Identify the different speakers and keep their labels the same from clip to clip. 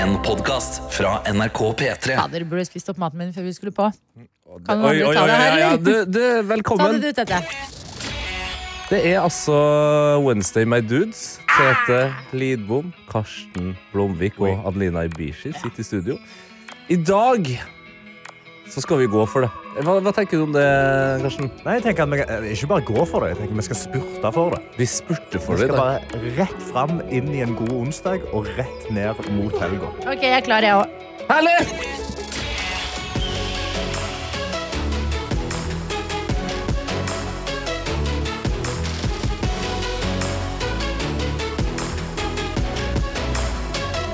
Speaker 1: En podcast fra NRK P3
Speaker 2: Ja, dere burde spist opp maten min før vi skulle på. Kan noen
Speaker 3: Oi,
Speaker 2: andre
Speaker 3: oi,
Speaker 2: ta
Speaker 3: oi,
Speaker 2: det her,
Speaker 3: ja, ja.
Speaker 2: eller?
Speaker 3: Du,
Speaker 2: Ta
Speaker 3: du,
Speaker 2: det
Speaker 3: velkommen.
Speaker 2: du, Tete.
Speaker 3: Det er altså Wednesday My Dudes. Tete Lidbom, Karsten Blomvik og Adelina Ibishi sitter i studio. I dag så skal vi gå for det. Hva, hva tenker du om det, Karsten?
Speaker 4: Nei, jeg tenker at vi kan, eh, Ikke bare gå for det, jeg tenker vi skal spurte for det.
Speaker 3: Vi spurte
Speaker 4: Vi
Speaker 3: for det. i
Speaker 4: skal
Speaker 3: dag.
Speaker 4: bare rett fram inn i en god onsdag og rett ned mot helga.
Speaker 2: Ok, jeg er klar, jeg òg.
Speaker 3: Herlig!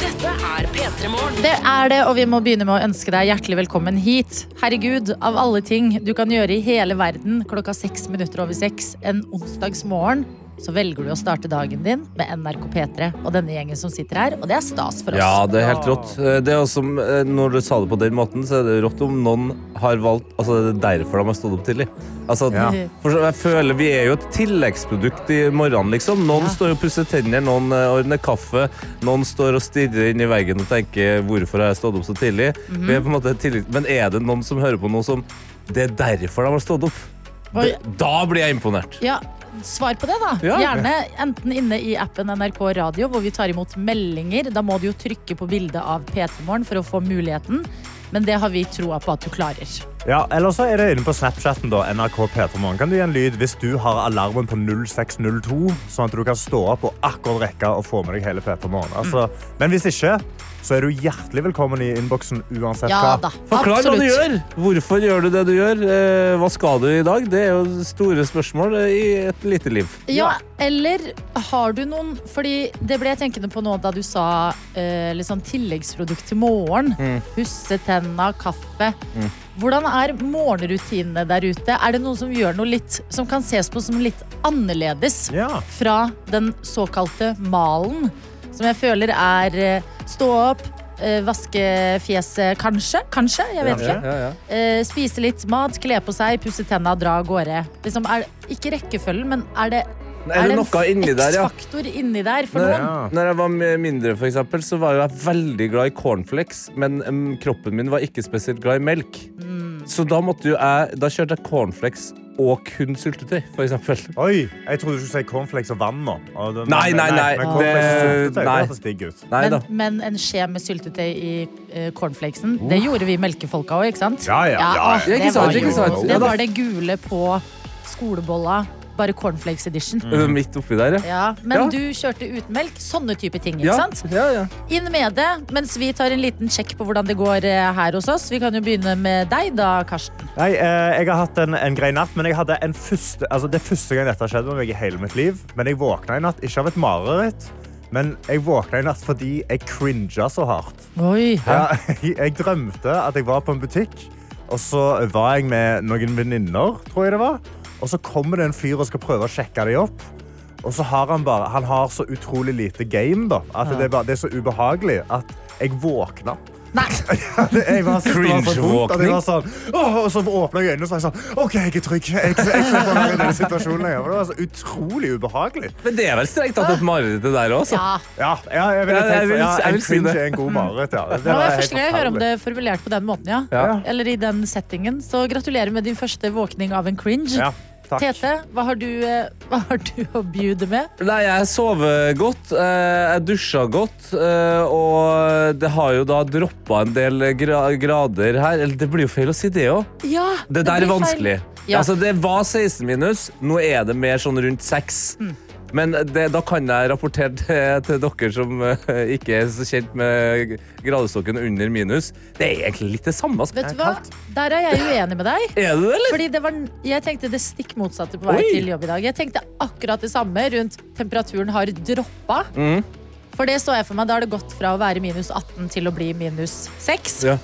Speaker 5: Dette er P3 Morgen.
Speaker 2: Det er det, og vi må begynne med å ønske deg hjertelig velkommen hit. Herregud, av alle ting du kan gjøre i hele verden klokka seks minutter over seks en onsdagsmorgen, så velger du å starte dagen din med NRK P3 og denne gjengen som sitter her, og det er stas for oss.
Speaker 3: Ja, det er helt rått. Eh, Det er også, når du sa det på den måten, så er det rått om noen har valgt Altså, det er derfor de har stått opp tidlig. Altså,
Speaker 4: Ja.
Speaker 3: for så- jeg føler Vi er jo et tilleggsprodukt i morgenen, liksom. Noen står og pusser tenner, noen eh, ordner kaffe, noen står og stirrer inn i veggen og tenker 'hvorfor har jeg stått opp så tidlig'? Vi er på en måte et tillegg... Men er det noen som hører på noe som Det er derfor de har stått opp.
Speaker 2: Oi.
Speaker 3: Det- Da blir jeg imponert.
Speaker 2: Ja, Svar på det, da.
Speaker 3: Ja.
Speaker 2: Gjerne enten inne i appen NRK Radio, hvor vi tar imot meldinger. Da må du jo trykke på bildet av PT-morgen for å få muligheten. Men det har vi troa på at du klarer.
Speaker 4: Ja, Eller så er det inne på Snapchatten da, NRK Petermorgen. Kan du gi en lyd hvis du har alarmen på 0602, sånn at du kan stå opp og akkurat rekke å få med deg hele Petermorgen? Altså, men hvis ikke, så er du hjertelig velkommen i innboksen uansett
Speaker 2: Ja da.
Speaker 4: hva.
Speaker 3: Forklar hva du
Speaker 2: absolutt.
Speaker 3: gjør. Hvorfor gjør du det du gjør? Eh, hva skal du i dag? Det er jo store spørsmål eh, i et lite liv.
Speaker 2: Ja, eller har du noen Fordi det ble jeg tenkende på nå da du sa eh, litt sånn tilleggsprodukt til morgen.
Speaker 3: Mm.
Speaker 2: Husse tenna, kaffe. Hvordan er morgenrutinene der ute? Er det noen som gjør noe litt som kan ses på som litt annerledes?
Speaker 4: Ja.
Speaker 2: fra den såkalte malen, som jeg føler er eh, stå opp, eh, vaske fjeset, kanskje, kanskje, jeg vet ikke.
Speaker 3: ja, ja.
Speaker 2: Eh, Spise litt mat, kle på seg, pusse tenna, dra av gårde. Liksom er, ikke rekkefølgen, men er det,
Speaker 3: Er det noe inni der, ja?
Speaker 2: X-faktor inni der for
Speaker 3: Når,
Speaker 2: noen?
Speaker 4: Ja.
Speaker 3: når jeg var mi- mindre, for eksempel, så var jeg veldig glad i cornflakes, men em, kroppen min var ikke spesielt glad i melk.
Speaker 2: Mm.
Speaker 3: Så da, måtte jo jeg, da kjørte jeg cornflakes og kun syltetøy, for eksempel.
Speaker 4: Oi, jeg trodde du skulle si cornflakes og vann nå. Og det-
Speaker 3: Nei, nei, nei.
Speaker 4: Men cornflakes og
Speaker 3: Det-
Speaker 4: syltetøy, det
Speaker 3: nei.
Speaker 4: hørtes digg ut.
Speaker 3: Nei
Speaker 2: Men,
Speaker 3: da.
Speaker 2: men en skje med syltetøy i eh, cornflakesen, det gjorde vi melkefolka òg, ikke sant?
Speaker 4: Ja, ja, ja,
Speaker 2: å,
Speaker 4: ja.
Speaker 3: Ja, ikke
Speaker 2: Det,
Speaker 3: sant,
Speaker 2: var
Speaker 3: ikke sant.
Speaker 2: jo,
Speaker 3: Ja,
Speaker 2: det
Speaker 3: da.
Speaker 2: var det gule på skolebolla, bare cornflakes edition.
Speaker 3: Midt oppi der, ja.
Speaker 2: Ja, men
Speaker 3: Ja.
Speaker 2: du kjørte uten melk. Sånne type ting. ikke
Speaker 3: Ja,
Speaker 2: sant?
Speaker 3: ja, ja.
Speaker 2: Inn med det, mens vi tar en liten sjekk på hvordan det går eh, her hos oss. Vi kan jo begynne med deg da, Karsten.
Speaker 4: Nei, eh, jeg har hatt en, en grei natt, men jeg hadde en første, altså det er første gang dette har skjedd med meg i hele mitt liv. Men jeg våkna i natt, ikke av et mareritt, men jeg våkna i natt fordi jeg cringa så hardt.
Speaker 2: Oi.
Speaker 4: Ja, jeg, jeg drømte at jeg var på en butikk, og så var jeg med noen venninner, tror jeg det var. Og så kommer det en fyr og skal prøve å sjekke dem opp. Og så har han bare, han har så utrolig lite game, da. At det, er bare, det er så ubehagelig at jeg våkna.
Speaker 2: Nei.
Speaker 4: Det- Jeg var så- det var så vondt at jeg var sånn, «Åh», og så åpna jeg øynene og så var jeg sånn OK, jeg er trygg. Jeg, jeg, jeg slipper å være i denne situasjonen lenger. For Det var så utrolig ubehagelig.
Speaker 3: Men det er vel strengt tatt et mareritt, det der også.
Speaker 2: Ah. Ja.
Speaker 4: Ja, ja jeg ville
Speaker 3: Ja, jeg
Speaker 4: tenkt
Speaker 3: vil-
Speaker 4: sånn. Ja,
Speaker 3: jeg vil
Speaker 4: en
Speaker 3: si
Speaker 4: cringe
Speaker 3: det.
Speaker 4: er en god mareritt. Ja. Det
Speaker 2: Det
Speaker 4: var
Speaker 2: var
Speaker 4: helt
Speaker 2: første gang jeg hører om
Speaker 4: forferdelig.
Speaker 2: det formulert på den måten, ja.
Speaker 3: Ja.
Speaker 2: Eller i den settingen. Så gratulerer med din første våkning av en cringe.
Speaker 4: Ja, takk.
Speaker 2: Tete, hva har du, eh, hva har du å bjude med?
Speaker 3: Nei, jeg sover godt, eh, jeg dusja godt, eh, og det har jo da droppa en del gra grader her. Eller det blir jo feil å si det òg.
Speaker 2: Ja,
Speaker 3: Det der er
Speaker 2: blir feil.
Speaker 3: vanskelig.
Speaker 2: Ja.
Speaker 3: Altså, det var 16 minus, nå er det mer sånn rundt 6.
Speaker 2: Mm.
Speaker 3: Men det, da kan jeg rapportere til, til dere som eh, ikke er så kjent med gradestokken under minus. Det er egentlig litt det samme. Altså.
Speaker 2: Vet du hva? Der er jeg uenig med deg.
Speaker 3: Er det det, eller?
Speaker 2: Fordi det var, jeg tenkte det stikk motsatte på vei
Speaker 3: Oi.
Speaker 2: til jobb i dag. Jeg tenkte akkurat det samme rundt temperaturen har droppa.
Speaker 3: Mm.
Speaker 2: For det så jeg for meg, da har det gått fra å være minus 18 til å bli minus 6.
Speaker 3: Ja.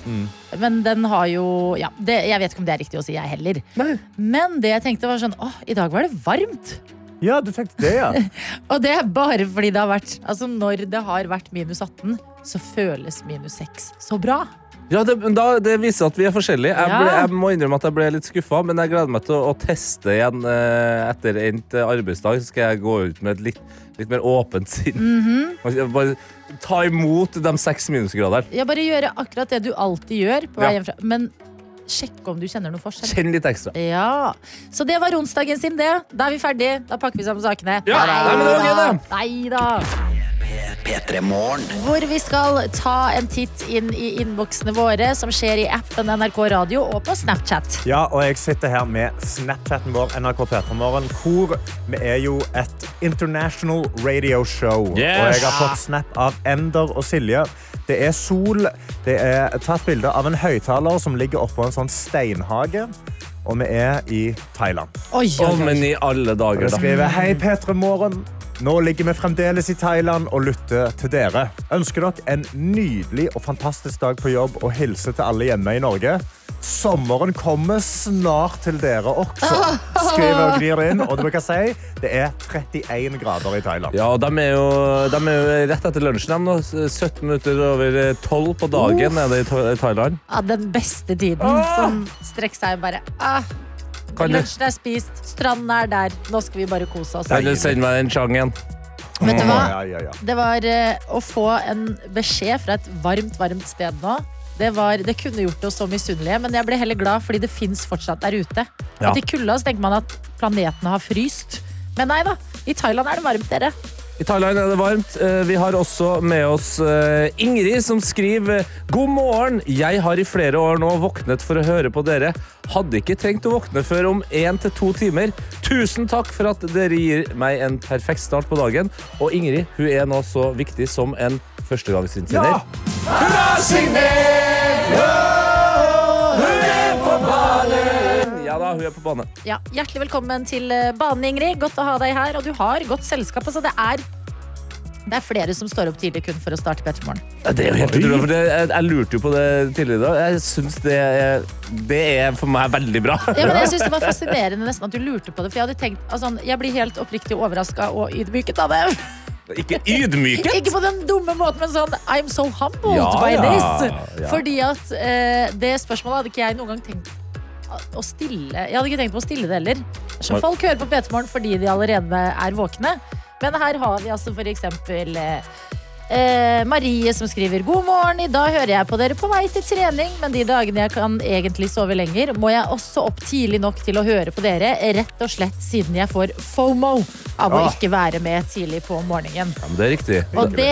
Speaker 2: Men den har jo ja, det, Jeg vet ikke om det er riktig å si, jeg heller.
Speaker 3: Nei.
Speaker 2: Men det jeg tenkte var sånn Åh, i dag var det varmt.
Speaker 4: Ja, du tenkte det, ja.
Speaker 2: Og det er bare fordi det har vært Altså når det har vært minus 18, så føles minus 6 så bra.
Speaker 3: Ja, det, men da, det viser at vi er forskjellige. Jeg,
Speaker 2: Ja.
Speaker 3: ble, jeg må innrømme at jeg ble litt skuffa, men jeg gleder meg til å, å teste igjen eh, etter endt eh, arbeidsdag. Så skal jeg gå ut med et litt, litt mer åpent sinn.
Speaker 2: Mhm.
Speaker 3: Og Bare ta imot de seks minusgradene.
Speaker 2: Ja, bare gjøre akkurat det du alltid gjør på vei
Speaker 3: Ja.
Speaker 2: hjemmefra. Men sjekk om du kjenner noe forskjell.
Speaker 3: Kjenn litt ekstra.
Speaker 2: Ja. Så det var onsdagen sin, det. Da er vi ferdige. Da pakker vi sammen sakene.
Speaker 3: Ja, nei, men det var gøy, det.
Speaker 2: Nei da.
Speaker 1: P3 Morgen.
Speaker 2: Hvor vi skal ta en titt inn i innboksene våre, som skjer i appen NRK Radio og på Snapchat.
Speaker 4: Ja, og jeg sitter her med Snapchaten vår, NRK P3morgen, hvor vi er jo et international radio show. Og jeg har fått snap av Ender og Silje. Det er sol, det er tatt bilde av en høyttaler som ligger oppå en sånn steinhage, og vi er i Thailand.
Speaker 2: Oi, oi,
Speaker 3: Å, men
Speaker 2: oi.
Speaker 3: i alle dager,
Speaker 4: Jeg
Speaker 3: da.
Speaker 4: skriver Hei, P3morgen. Nå ligger vi fremdeles i Thailand og lytter til dere. Ønsker dere en nydelig og fantastisk dag på jobb og hilser til alle hjemme i Norge. Sommeren kommer snart til dere også. Skriver og glir inn. Og du kan si det er 31 grader i Thailand.
Speaker 3: Ja, og de er, jo, de er jo rett etter lunsjen. De, nå. 17 minutter over eh, 12 på dagen er det i Tha- Thailand.
Speaker 2: Ja, den beste tiden som strekker seg bare ah,
Speaker 3: Ah! Kan du,
Speaker 2: Lunsjen er spist, stranden er der. Nå skal vi bare kose oss.
Speaker 3: kan du sende meg den changen?
Speaker 2: Vet du hva?
Speaker 4: Ja, ja, ja.
Speaker 2: Det var eh, å få en beskjed fra et varmt, varmt sted nå. Det, var, det kunne gjort oss så misunnelige, men jeg ble heller glad fordi det fins fortsatt der ute.
Speaker 3: Ja.
Speaker 2: At I kulda så tenker man at planetene har fryst. Men nei da, i Thailand er det varmt, dere.
Speaker 3: I Thailand er det varmt. Eh, Vi har også med oss eh, Ingrid, som skriver God morgen. Jeg har i flere år nå våknet for å høre på dere. Hadde ikke trengt å våkne før om én til to timer. Tusen takk for at dere gir meg en perfekt start på dagen. Og Ingrid hun er nå så viktig som en førstegangsinnsender. Ja da, hun er på bane.
Speaker 2: Ja, hjertelig velkommen til eh, banen, Ingrid. Godt å ha deg her. Og du har godt selskap. Altså, det, er, det er flere som står opp tidlig kun for å starte P3 Morgen.
Speaker 3: Ja, Det er jo helt utrolig, for det, jeg, jeg lurte jo på det tidligere i dag. Jeg syns det, er- det er for meg veldig bra.
Speaker 2: Ja, men jeg synes Det var fascinerende nesten at du lurte på det. For jeg hadde tenkt, altså, jeg blir helt oppriktig overraska og ydmyket av det.
Speaker 3: Ikke ydmyket.
Speaker 2: Ikke på den dumme måten, men sånn I'm so humbled
Speaker 3: Ja,
Speaker 2: by
Speaker 3: ja,
Speaker 2: this.
Speaker 3: ja.
Speaker 2: Fordi at eh, det spørsmålet hadde ikke jeg noen gang tenkt å stille. Jeg hadde ikke tenkt på å stille det heller. Så
Speaker 3: Nei.
Speaker 2: folk hører på PT Morgen fordi de allerede er våkne. Men her har vi altså for eksempel eh, Eh, Marie som skriver God morgen, i dag hører jeg på dere på vei til trening Men de dagene jeg kan egentlig sove lenger Må jeg også opp tidlig nok til å høre på dere Rett og slett siden jeg får FOMO Av å
Speaker 4: Ah.
Speaker 2: ikke være med tidlig på morgenen
Speaker 3: Ja, men det er riktig.
Speaker 2: og det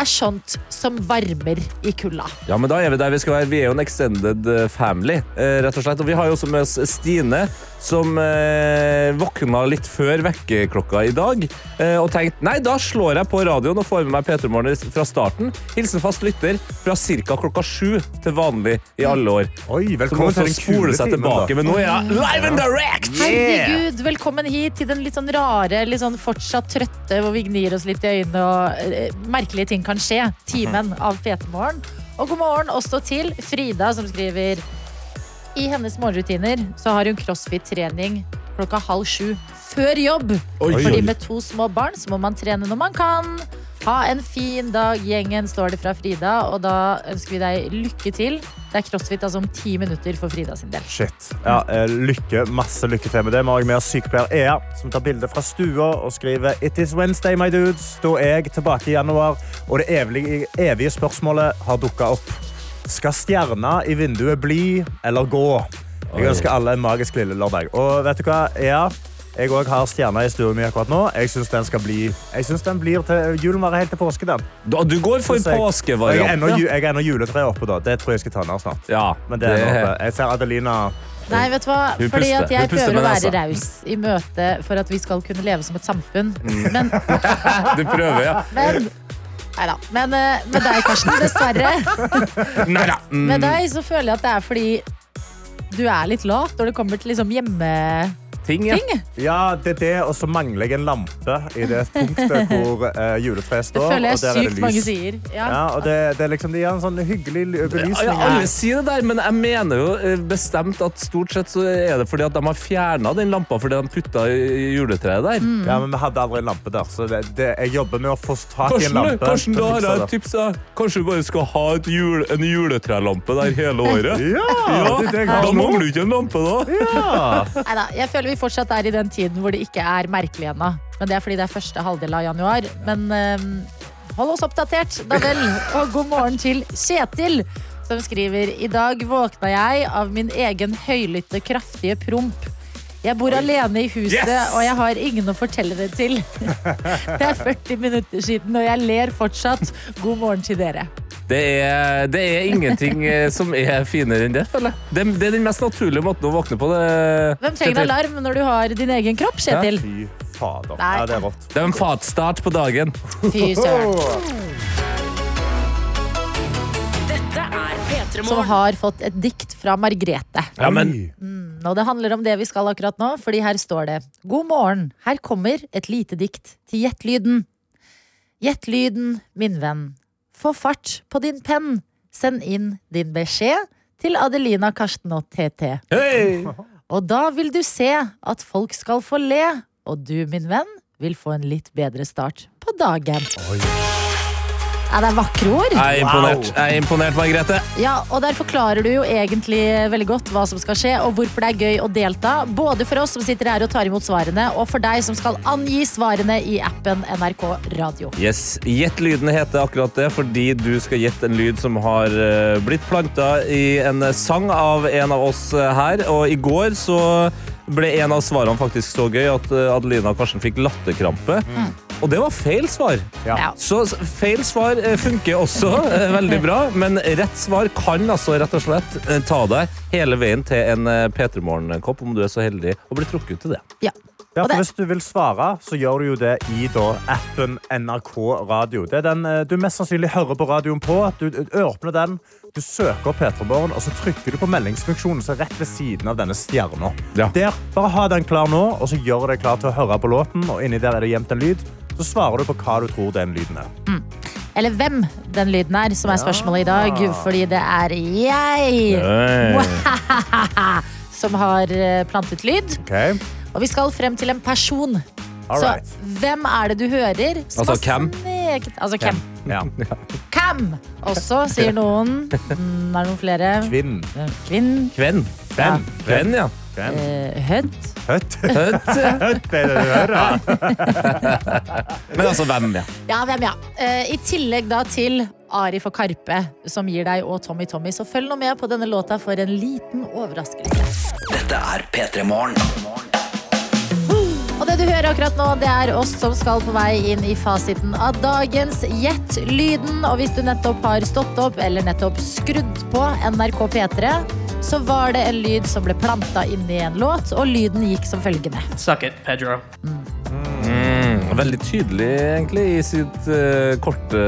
Speaker 2: er sånt som varmer i kulda.
Speaker 3: Ja, men da er vi der vi skal være. Vi er jo en extended eh, family, eh, rett og slett. Og vi har jo også med oss Stine, som eh, våkna litt før vekkerklokka i dag. Eh, og tenkte nei, da slår jeg på radioen og får med meg P3 Morgen fra starten. Hilsen fast lytter fra ca. klokka sju til vanlig i alle år.
Speaker 4: Oi,
Speaker 3: Som
Speaker 4: velkommen
Speaker 3: også
Speaker 4: til den
Speaker 3: spoler
Speaker 4: kule
Speaker 3: seg
Speaker 4: timen. da.
Speaker 3: tilbake, men nå er jeg live and direct!
Speaker 2: Herregud, velkommen hit til den litt sånn rare, litt sånn fortsatt trøtte, hvor vi gnir oss litt i øynene og eh, merkelige ting kan skje. Timen av PT-morgen. Og god morgen også til Frida, som skriver I hennes morgenrutiner så har hun crossfit-trening klokka halv sju før jobb. Fordi med to små barn så må man trene når man kan. Ha en fin dag, gjengen, står det fra Frida. Og da ønsker vi deg lykke til. Det er crossfit altså om ti minutter for Frida sin del.
Speaker 4: Shit. Ja, eh, lykke, masse lykke til med det. Vi har også med oss sykepleier Ea, som tar bilde fra stua og skriver It is Wednesday, my dudes. Da er jeg tilbake i januar, og det evige, evige spørsmålet har dukka opp. Skal stjerna i vinduet bli eller gå? Jeg ønsker alle en magisk lille lørdag. Og vet du hva, Ea? Jeg også har stjerna i stua mi akkurat nå. Jeg syns den skal bli Jeg synes den blir til julen varer helt til påske. den.
Speaker 3: Da, du går for
Speaker 4: Synes jeg- Og Jeg er ennå
Speaker 3: påskevarianten.
Speaker 4: ju- jeg er ennå juletreet oppe, da. Det tror jeg skal ta ned snart.
Speaker 3: Ja,
Speaker 4: Men det er nå oppe. Jeg ser Adelina
Speaker 2: Nei, vet du hva? Fordi
Speaker 3: Hun puster.
Speaker 2: at jeg
Speaker 3: Hun puster,
Speaker 2: prøver å
Speaker 3: men
Speaker 2: være
Speaker 3: altså.
Speaker 2: raus i møte for at vi skal kunne leve som et samfunn.
Speaker 3: Mm.
Speaker 2: Men,
Speaker 3: Du prøver, ja.
Speaker 2: men Neida. Men eh, med deg, Karsten, dessverre.
Speaker 3: Nei da.
Speaker 2: Med deg så føler jeg at det er fordi du er litt lat når det kommer til liksom hjemme...
Speaker 3: Ting, ja.
Speaker 2: Ting.
Speaker 4: Ja, det er det, og så mangler jeg en lampe i det punktet hvor eh, juletreet
Speaker 2: Det
Speaker 4: står.
Speaker 2: føler jeg
Speaker 4: og der er det
Speaker 2: sykt mange
Speaker 4: lys.
Speaker 2: sier. Ja.
Speaker 4: Ja, og det, det er liksom, De gir en sånn hyggelig ly- belysning.
Speaker 3: Ja, alle sier det der, men jeg mener jo eh, bestemt at stort sett så er det fordi at de har fjerna den lampa fordi de putta i i juletreet der.
Speaker 4: Ja, men Vi hadde aldri en lampe der, så det, det, jeg jobber med å få tak i en
Speaker 3: Karsten,
Speaker 4: lampe.
Speaker 3: Karsten,
Speaker 4: til
Speaker 3: da har jeg
Speaker 4: å fikse det.
Speaker 3: et tips. jeg. Kanskje du bare skal ha et jul, en juletrelampe der hele året?
Speaker 4: Ja, det er det jeg har
Speaker 3: Da
Speaker 4: nå.
Speaker 3: mangler du ikke en lampe, da.
Speaker 4: Ja.
Speaker 2: Neida, jeg føler vi fortsatt er i den tiden hvor det ikke er merkelig ennå. Men det er fordi det er første halvdel av januar. Men ehm, hold oss oppdatert, da vel. Og god morgen til Kjetil, som skriver I dag våkna jeg av min egen høylytte, kraftige promp. Jeg bor alene i huset,
Speaker 3: Yes!
Speaker 2: og jeg har ingen å fortelle det til. Det er 40 minutter siden, og jeg ler fortsatt. God morgen til dere.
Speaker 3: Det er, det er ingenting eh, som er finere enn det, føler jeg. Det, det er den mest naturlige måten å våkne på. Det,
Speaker 2: Hvem trenger
Speaker 3: Kjetil.
Speaker 2: alarm når du har din egen kropp, Kjetil?
Speaker 4: Fy fader.
Speaker 2: Nei.
Speaker 4: Ja, det er rått.
Speaker 3: Det er en fatstart på dagen.
Speaker 2: Fy søren.
Speaker 5: Dette er P3
Speaker 2: Som
Speaker 5: Morgen.
Speaker 2: har fått et dikt fra Margrete.
Speaker 3: Ja, men
Speaker 2: Og det handler om det vi skal akkurat nå, fordi her står det God morgen, her kommer et lite dikt til gjettlyden. Gjettlyden, min venn. Få fart på din penn. Send inn din beskjed til Adelina Karsten og TT.
Speaker 3: Hei!
Speaker 2: Og da vil du se at folk skal få le, og du, min venn, vil få en litt bedre start på dagen. Ja, det er vakre ord.
Speaker 3: Jeg er imponert, jeg er imponert Margrethe.
Speaker 2: Ja, og der forklarer du jo egentlig veldig godt hva som skal skje, og hvorfor det er gøy å delta. Både for oss som sitter her og tar imot svarene, og for deg som skal angi svarene i appen NRK Radio.
Speaker 3: Yes, Gjett lyden heter akkurat det, fordi du skal gjette en lyd som har eh, blitt planta i en sang av en av oss eh, her. Og i går så ble en av svarene faktisk så gøy at eh, Adelina og Karsten fikk latterkrampe. Og det var feil svar.
Speaker 2: Ja.
Speaker 3: Så s- feil svar eh, funker også eh, veldig bra, men rett svar kan altså rett og slett eh, ta deg hele veien til en eh, P3 Morgen-kopp, om du er så heldig å bli trukket til det.
Speaker 2: Ja.
Speaker 4: Ja,
Speaker 2: Og
Speaker 4: for
Speaker 2: det-
Speaker 4: hvis du vil svare, så gjør du jo det i da, appen NRK Radio. Det er den eh, du mest sannsynlig hører på radioen på. Du eh, åpner den, du søker P3 Morgen, og så trykker du på meldingsfunksjonen som er rett ved siden av denne stjerna.
Speaker 3: Ja.
Speaker 4: Der, Bare ha den klar nå, og så gjør deg klar til å høre på låten. Og inni der er det gjemt en lyd. Så svarer du på hva du tror den lyden er.
Speaker 2: Eller hvem den lyden er, som er spørsmålet i dag. Fordi det er jeg som har eh, plantet lyd.
Speaker 4: Ok?
Speaker 2: Og vi skal frem til en person.
Speaker 4: All
Speaker 2: Så
Speaker 4: right.
Speaker 2: hvem er det du hører? som
Speaker 3: Altså,
Speaker 2: har
Speaker 3: hvem?
Speaker 2: sneket- Altså, hvem?
Speaker 4: Ja.
Speaker 2: Hvem? Også, sier noen. Mm, er det noen flere?
Speaker 4: Kvinn.
Speaker 2: Kvinn.
Speaker 3: Kvenn.
Speaker 4: Kvenn.
Speaker 3: Kvenn, ja.
Speaker 4: Kvenn.
Speaker 2: Eh, Hødd.
Speaker 4: Høtt.
Speaker 3: Høtt.
Speaker 4: Høtt er det du hører.
Speaker 3: Men altså, hvem, ja.
Speaker 2: Ja, hvem, ja. Eh, I tillegg da til Arif og Karpe, som gir deg og Tommy Tommy. Så følg nå med på denne låta for en liten overraskelse.
Speaker 1: Dette er P3 Morgen.
Speaker 2: Og det du hører akkurat nå, det er oss som skal på vei inn i fasiten av dagens Gjett lyden. Og hvis du nettopp har stått opp eller nettopp skrudd på NRK P3, så var det en lyd som ble planta inn i en låt, og lyden gikk som følgende.
Speaker 6: Suck it, Pedro.
Speaker 4: Mm.
Speaker 3: Veldig tydelig, egentlig, i sitt, eh, korte,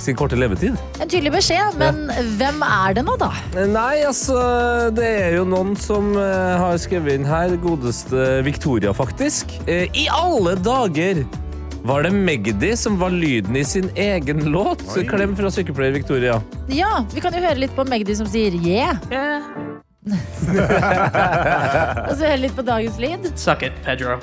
Speaker 3: sin korte levetid.
Speaker 2: En tydelig beskjed, men hvem er det nå, da?
Speaker 3: Nei, altså Det er jo noen som eh, har skrevet inn her. Godeste Victoria, faktisk. Eh, I alle dager! Var det Magdi som var lyden i sin egen låt? Klem fra sykepleier Victoria.
Speaker 2: Ja, vi kan jo høre litt på Magdi som sier yeah. Og så høre litt på dagens lyd.
Speaker 6: Suck it, Pedro.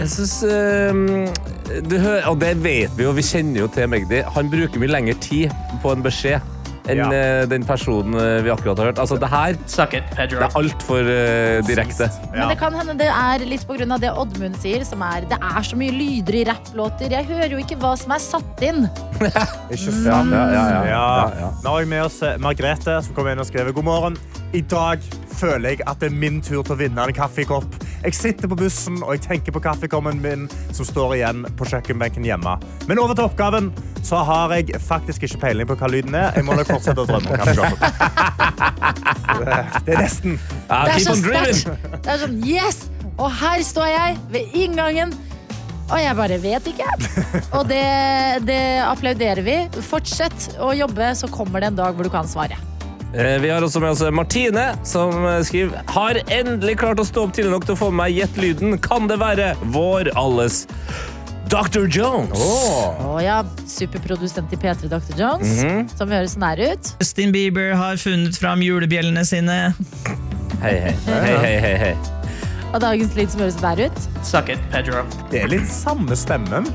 Speaker 3: Jeg synes, eh, du hø- Og det vet vi jo, vi kjenner jo til Magdi. Han bruker mye lengre tid på en beskjed enn
Speaker 4: Ja.
Speaker 3: eh, den personen eh, vi akkurat har hørt. Altså, det her
Speaker 6: Suck it,
Speaker 3: Det
Speaker 6: Pedro.
Speaker 3: er altfor uh, direkte.
Speaker 2: Men det kan hende det er litt på grunn av det Oddmund sier, som er det er så mye lyder i rapplåter. Jeg hører jo ikke hva som er satt inn.
Speaker 4: Ikke sant? Ja,
Speaker 3: ja,
Speaker 4: Nå har jeg med oss eh, Margrethe, som kom inn og skrev God morgen. I dag føler jeg at det er min tur til å vinne en kaffekopp. Jeg sitter på bussen og jeg tenker på kaffekommen min, som står igjen på kjøkkenbenken hjemme. Men over til oppgaven, så har jeg faktisk ikke peiling på hva lyden er. Jeg må nok fortsette å drømme om kaffekoppen. Det- Det er nesten.
Speaker 3: Ah,
Speaker 2: Det er
Speaker 3: keep
Speaker 2: så
Speaker 3: on dreaming!
Speaker 2: sterkt. Det er sånn yes! Og her står jeg ved inngangen. Og jeg bare vet ikke. Og det, det applauderer vi. Fortsett å jobbe, så kommer det en dag hvor du kan svare.
Speaker 3: Eh, Vi har også med oss Martine, som eh, skriver Har endelig klart å stå opp tidlig nok til å få med meg gjett lyden. Kan det være vår alles Dr. Jones?
Speaker 2: Å ja, superprodusent i P3 Dr. Jones, som høres nær ut.
Speaker 6: Justin Bieber har funnet fram julebjellene sine.
Speaker 3: Hei, hei, hei, hei, hei, hei.
Speaker 2: Og dagens lyd som høres nær ut.
Speaker 6: Suck it, Pedro.
Speaker 4: Det er litt samme stemmen.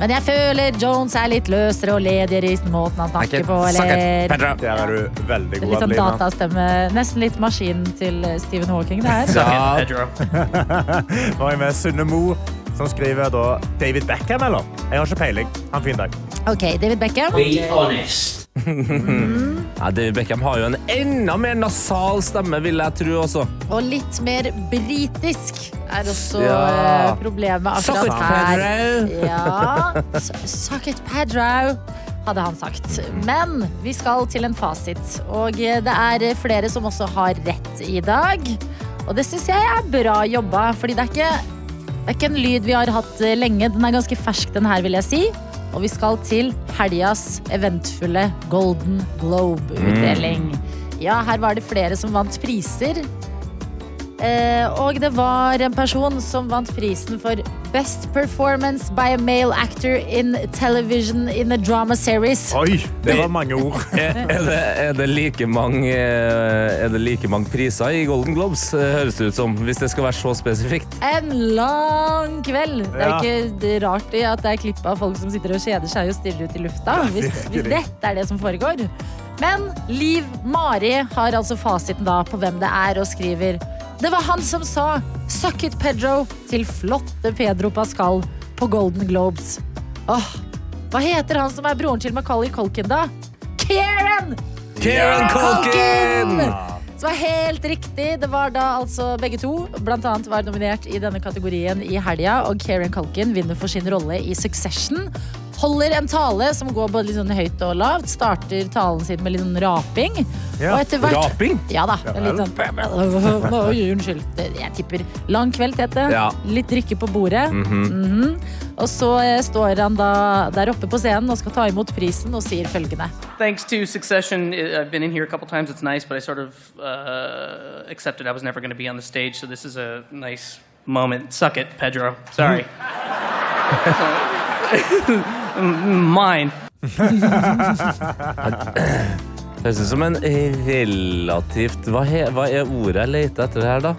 Speaker 2: Men jeg føler Jones er litt løsere og ledigere i måten han snakker på. Eller
Speaker 4: Der er du veldig god,
Speaker 2: litt sånn
Speaker 4: Adelina.
Speaker 2: datastemme. Nesten litt maskin til Stephen Hawking. Det her.
Speaker 3: Ja,
Speaker 4: Nå er jeg med Synne Mo, som skriver da David Beckham, eller? Jeg har ikke peiling. Ha en fin dag.
Speaker 2: Ok, David Beckham.
Speaker 3: Nei, David Beckham har jo en enda mer nasal stemme, vil jeg tro også.
Speaker 2: Og litt mer britisk er også
Speaker 3: Ja.
Speaker 2: eh, problemet
Speaker 3: Suck it,
Speaker 2: akkurat her. Ja, s- Suck it, Pedro, hadde han sagt. Men vi skal til en fasit. Og eh, det er flere som også har rett i dag. Og det syns jeg er bra jobba, fordi det er ikke det er ikke en lyd vi har hatt eh, lenge. Den er ganske fersk, den her, vil jeg si. Og vi skal til helgas eventfulle Golden Globe-utdeling. Ja, her var det flere som vant priser. Eh, og det var en person som vant prisen for Best Performance by a Male Actor in Television in a Drama Series.
Speaker 4: Oi, Eh, det var mange ord.
Speaker 3: Er, er, det, er, det like mange, eh, er det like mange priser i Golden Globes, eh, høres det ut som, hvis det skal være så spesifikt?
Speaker 2: En lang kveld. Det er
Speaker 4: Ja.
Speaker 2: ikke det rart i at det er klipp av folk som sitter og kjeder seg og stirrer ut i lufta. Hvis, hvis
Speaker 4: virkelig.
Speaker 2: dette er det som foregår. Men Liv Mari har altså fasiten da på hvem det er, og skriver Det var han som sa 'Suck it, Pedro' til flotte Pedro Pascal på Golden Globes. Åh, hva heter han som er broren til Macauley Culkin, da? Kieran!
Speaker 3: Kieran Culkin!
Speaker 2: Culkin! Som er helt riktig. Det var da altså begge to. Blant annet var nominert i denne kategorien i helga, og Kieran Culkin vinner for sin rolle i Succession. Holder en tale som går både litt sånn høyt og lavt. Starter talen sin med litt sånn raping.
Speaker 4: Ja,
Speaker 2: og etter hvert
Speaker 3: Raping?
Speaker 2: Ja da.
Speaker 4: Ja vel.
Speaker 2: litt sånn Oi, Unnskyld. Det- Jeg tipper lang kveld, Tete.
Speaker 3: Ja.
Speaker 2: Litt drikke på bordet. Mhm. Og så eh, står han da der oppe på scenen og skal ta imot prisen, og sier følgende.
Speaker 7: Thanks to Succession, i- I've been in here a couple times. It's nice, but I sort of uh, accepted I was never going to be on the stage, so this is a nice moment. Suck it, Pedro. Sorry. Mine.
Speaker 3: Høres ut som en relativt hva, he, hva er ordet jeg leter etter her, da?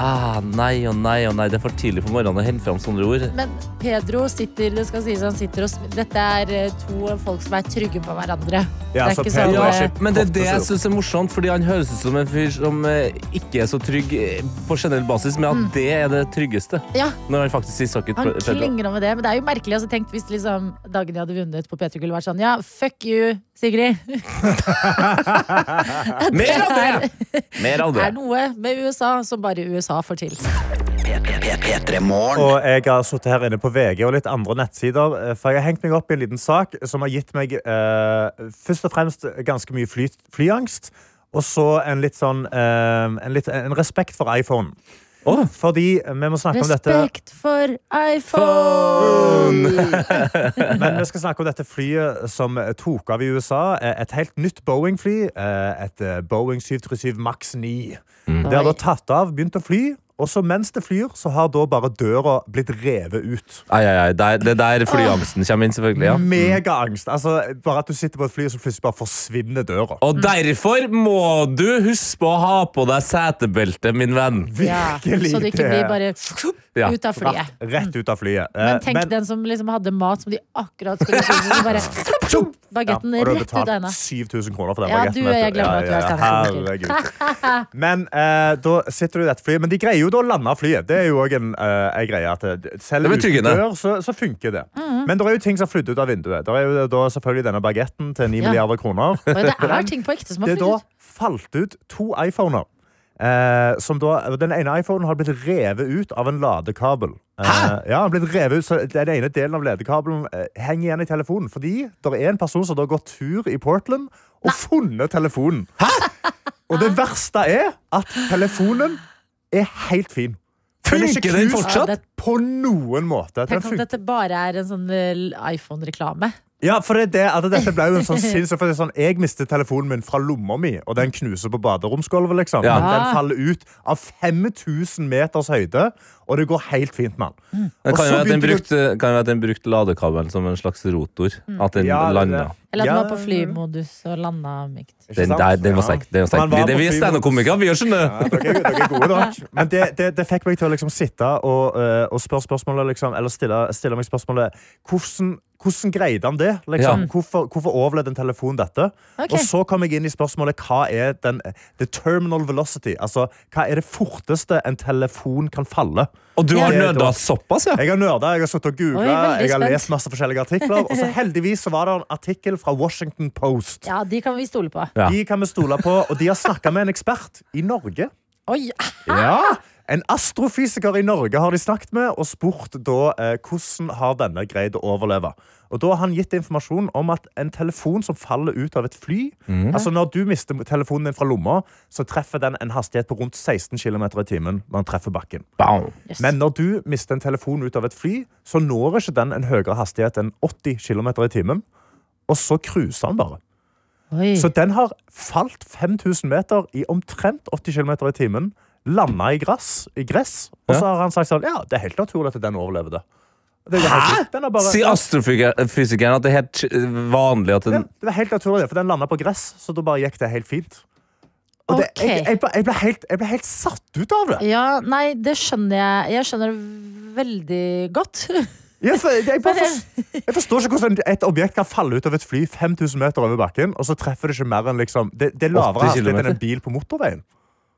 Speaker 3: Ah, nei og nei og nei. Det er for tidlig på morgenen å hente fram sånne ord.
Speaker 2: Men Pedro sitter, det skal sies han sitter og sm- Dette er eh, to folk som er trygge på hverandre.
Speaker 4: Ja,
Speaker 2: det
Speaker 4: så
Speaker 2: er ikke
Speaker 4: Pedro
Speaker 2: sånn,
Speaker 4: er
Speaker 2: eh,
Speaker 4: skip-
Speaker 3: Men det er det jeg
Speaker 4: Ofte så-
Speaker 3: syns er morsomt, fordi han høres ut som en fyr som eh, ikke er så trygg eh, på generell basis, men at det er det tryggeste.
Speaker 2: Mm. ja,
Speaker 3: Når han faktisk sier sakket
Speaker 2: han
Speaker 3: Pedro.
Speaker 2: klinger om med det. Men det er jo merkelig. Altså, tenk hvis liksom, Dagny hadde vunnet på P3 Gull og vært sånn Ja, fuck you, Sigrid.
Speaker 3: Mer av det! Mer av
Speaker 2: Det
Speaker 3: det.
Speaker 2: er noe med USA som bare USA får til.
Speaker 1: P3-morgen.
Speaker 4: Og jeg har sittet her inne på VG og litt andre nettsider, eh, for jeg har hengt meg opp i en liten sak som har gitt meg eh, først og fremst ganske mye fly, flyangst, og så en litt sånn eh, en, litt, en respekt for iPhone. Fordi vi må snakke om dette
Speaker 2: Respekt for iPhone!
Speaker 4: Men vi skal snakke om dette flyet som tok av i USA. eh, Et helt nytt Boeing-fly. Et eh, Boeing 737 Max 9. Det har da tatt av, begynt å fly. Og så mens det flyr, så har da bare døra blitt revet ut.
Speaker 3: Ai, ai, ai. Der, det er der flyangsten kommer inn, selvfølgelig. ja.
Speaker 4: Megaangst. Altså, bare at du sitter på et fly, og så plutselig bare forsvinner døra.
Speaker 3: Og derfor må du huske på å ha på deg setebelte, min venn.
Speaker 2: Ja,
Speaker 4: Virkelig,
Speaker 2: så det ikke
Speaker 4: det
Speaker 2: blir
Speaker 4: er-
Speaker 2: bare
Speaker 3: Ja.
Speaker 2: ut av flyet.
Speaker 4: Rett, rett ut av flyet. Eh,
Speaker 2: Men tenk den som liksom hadde mat som de akkurat skulle spise, så bare Bagetten
Speaker 4: og du har
Speaker 2: rett ut av
Speaker 4: betalt
Speaker 2: øynene.
Speaker 4: 7000 kroner for den
Speaker 2: Ja,
Speaker 4: bagetten.
Speaker 2: du er
Speaker 4: vet
Speaker 2: glad for at du er standup.
Speaker 4: herregud. Men eh, da sitter du i dette flyet. Men de greier jo da å lande flyet. Det er jo også en, eh, en greie at eh, selv
Speaker 3: Det er
Speaker 4: uten
Speaker 3: betryggende.
Speaker 4: dør, så, så funker det.
Speaker 2: Mm.
Speaker 4: Men det er jo ting som har flydd ut av vinduet. Det er jo da selvfølgelig denne bagetten til 9
Speaker 2: Ja.
Speaker 4: milliarder kroner.
Speaker 2: Oi, det er ting på ekte som har
Speaker 4: Det da
Speaker 2: flyttet.
Speaker 4: falt ut to iPhoner. Eh, som da, den ene iPhonen har blitt revet ut av en ladekabel. Eh, ja, den, har blitt revet ut, så den ene delen av ladekabelen eh, henger igjen i telefonen. Fordi det er en person som da har gått tur i Portland og funnet telefonen. Og det verste er at telefonen er helt fin. Den er ikke
Speaker 3: Funker den
Speaker 4: knust
Speaker 3: fortsatt?
Speaker 4: På noen måte. Den
Speaker 2: Tenk om
Speaker 4: funker.
Speaker 2: dette bare er en sånn eh, iPhone-reklame.
Speaker 4: Ja, for det er det at dette ble jo en sånn sinnssyk for det er sånn, Jeg mistet telefonen min fra lomma mi, og den knuser på baderomsgulvet. Liksom.
Speaker 3: Ja.
Speaker 4: Den faller ut av 5000 meters høyde, og det går helt fint med den.
Speaker 3: Det
Speaker 4: Og
Speaker 3: kan
Speaker 4: så
Speaker 3: jo være at den
Speaker 4: begynte det-
Speaker 3: brukte, kan jo være at den brukte ladekabelen som en slags rotor. At den
Speaker 4: Mm. Ja, det er
Speaker 3: landa.
Speaker 4: det.
Speaker 2: Eller at
Speaker 4: Ja,
Speaker 2: den var på flymodus og landa mykt.
Speaker 4: Ikke
Speaker 3: Den
Speaker 4: sant?
Speaker 3: der, den var
Speaker 4: Ja.
Speaker 3: sekk. Den var sekk.
Speaker 4: Han var
Speaker 3: Vi, det,
Speaker 4: på
Speaker 3: vi er
Speaker 4: flyvåg.
Speaker 3: standup-komikere, vi gjør sånne.
Speaker 4: Ja, dere, er- dere er gode nok. Men det, det, det fikk meg til å liksom sitte og, eh, og spørre spørsmålet, liksom, eller stille, stille meg spørsmålet hvordan, hvordan greide han det? Liksom?
Speaker 3: Ja.
Speaker 4: Hvorfor, hvorfor overlevde en telefon dette?
Speaker 2: Mm. Ok.
Speaker 4: Og så kom jeg inn i spørsmålet hva er den, the terminal velocity? Altså, hva er det forteste en telefon kan falle?
Speaker 3: Og du
Speaker 4: Ja.
Speaker 3: har nøda såpass, ja?
Speaker 4: Jeg har nerda, jeg har sittet og
Speaker 2: Oi,
Speaker 4: googla,
Speaker 2: veldig
Speaker 4: jeg har
Speaker 2: spent.
Speaker 4: lest masse forskjellige artikler. Og så heldigvis så var det en artikkel fra Washington Post.
Speaker 2: Ja, de kan vi stole på.
Speaker 3: Ja.
Speaker 4: De kan vi stole på, og de har snakka med en ekspert i Norge.
Speaker 2: Oi,
Speaker 4: Ja, En astrofysiker i Norge har de snakket med og spurt da, eh, hvordan har denne greid å overleve. Og Da har han gitt informasjon om at en telefon som faller ut av et fly altså Når du mister telefonen din fra lomma, så treffer den en hastighet på rundt 16 km i timen. når den treffer bakken.
Speaker 3: Bam.
Speaker 2: yes.
Speaker 4: Men når du mister en telefon ut av et fly, så når ikke den en høyere hastighet enn 80 km i timen. Og så cruiser han bare.
Speaker 2: Oi.
Speaker 4: Så den har falt 5000 meter i omtrent 80 km i timen. Landa i gress, i gress og så
Speaker 3: Ja.
Speaker 4: har han sagt sånn Ja, det er helt naturlig at den overlevde. Det er jo helt- Den er bare,
Speaker 3: Sier astrofysikeren at det er helt eh, vanlig at
Speaker 4: den,
Speaker 3: en
Speaker 4: det var helt naturlig, for den landa på gress, så da bare gikk det helt fint. Og det,
Speaker 2: Ok.
Speaker 4: jeg, jeg, ble- jeg, ble helt, jeg ble helt satt ut av det.
Speaker 2: Ja, nei, det skjønner jeg. Jeg skjønner det veldig godt.
Speaker 4: Jeg, jeg, jeg, bare for, jeg forstår ikke hvordan et objekt kan falle ut av et fly 5000 meter over bakken, og så treffer det ikke mer enn liksom Det, det
Speaker 3: 80
Speaker 4: er lavere hastighet
Speaker 3: kilometer.
Speaker 4: enn en bil på motorveien.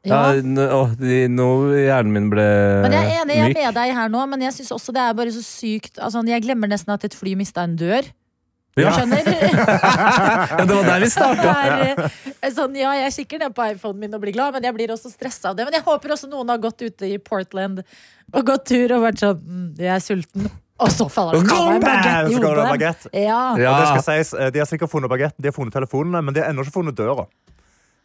Speaker 3: Ja,
Speaker 2: Ja. Eh,
Speaker 3: n- åh, de- Nå hjernen min ble
Speaker 2: Men jeg er enig, jeg er
Speaker 3: myk.
Speaker 2: med deg her nå, men jeg synes også det er bare så sykt altså, Jeg glemmer nesten at et fly mista en dør.
Speaker 3: Ja.
Speaker 2: Skjønner?
Speaker 3: Ja, det var der vi
Speaker 2: Det
Speaker 3: starta.
Speaker 2: er, eh, sånn, ja, jeg kikker ned på iPhonen min og blir glad, men jeg blir også stressa av det. Men jeg håper også noen har gått ute i Portland og gått tur og vært sånn mm, Jeg er sulten. Og så faller det av meg en
Speaker 4: Bam!
Speaker 2: bagett i
Speaker 4: Så går det en
Speaker 2: hodet.
Speaker 4: bagett.
Speaker 2: Ja.
Speaker 4: Og
Speaker 3: Ja.
Speaker 4: det skal sies, eh, De har sikkert funnet bagetten, de har funnet telefonene, men de har ennå ikke funnet døra.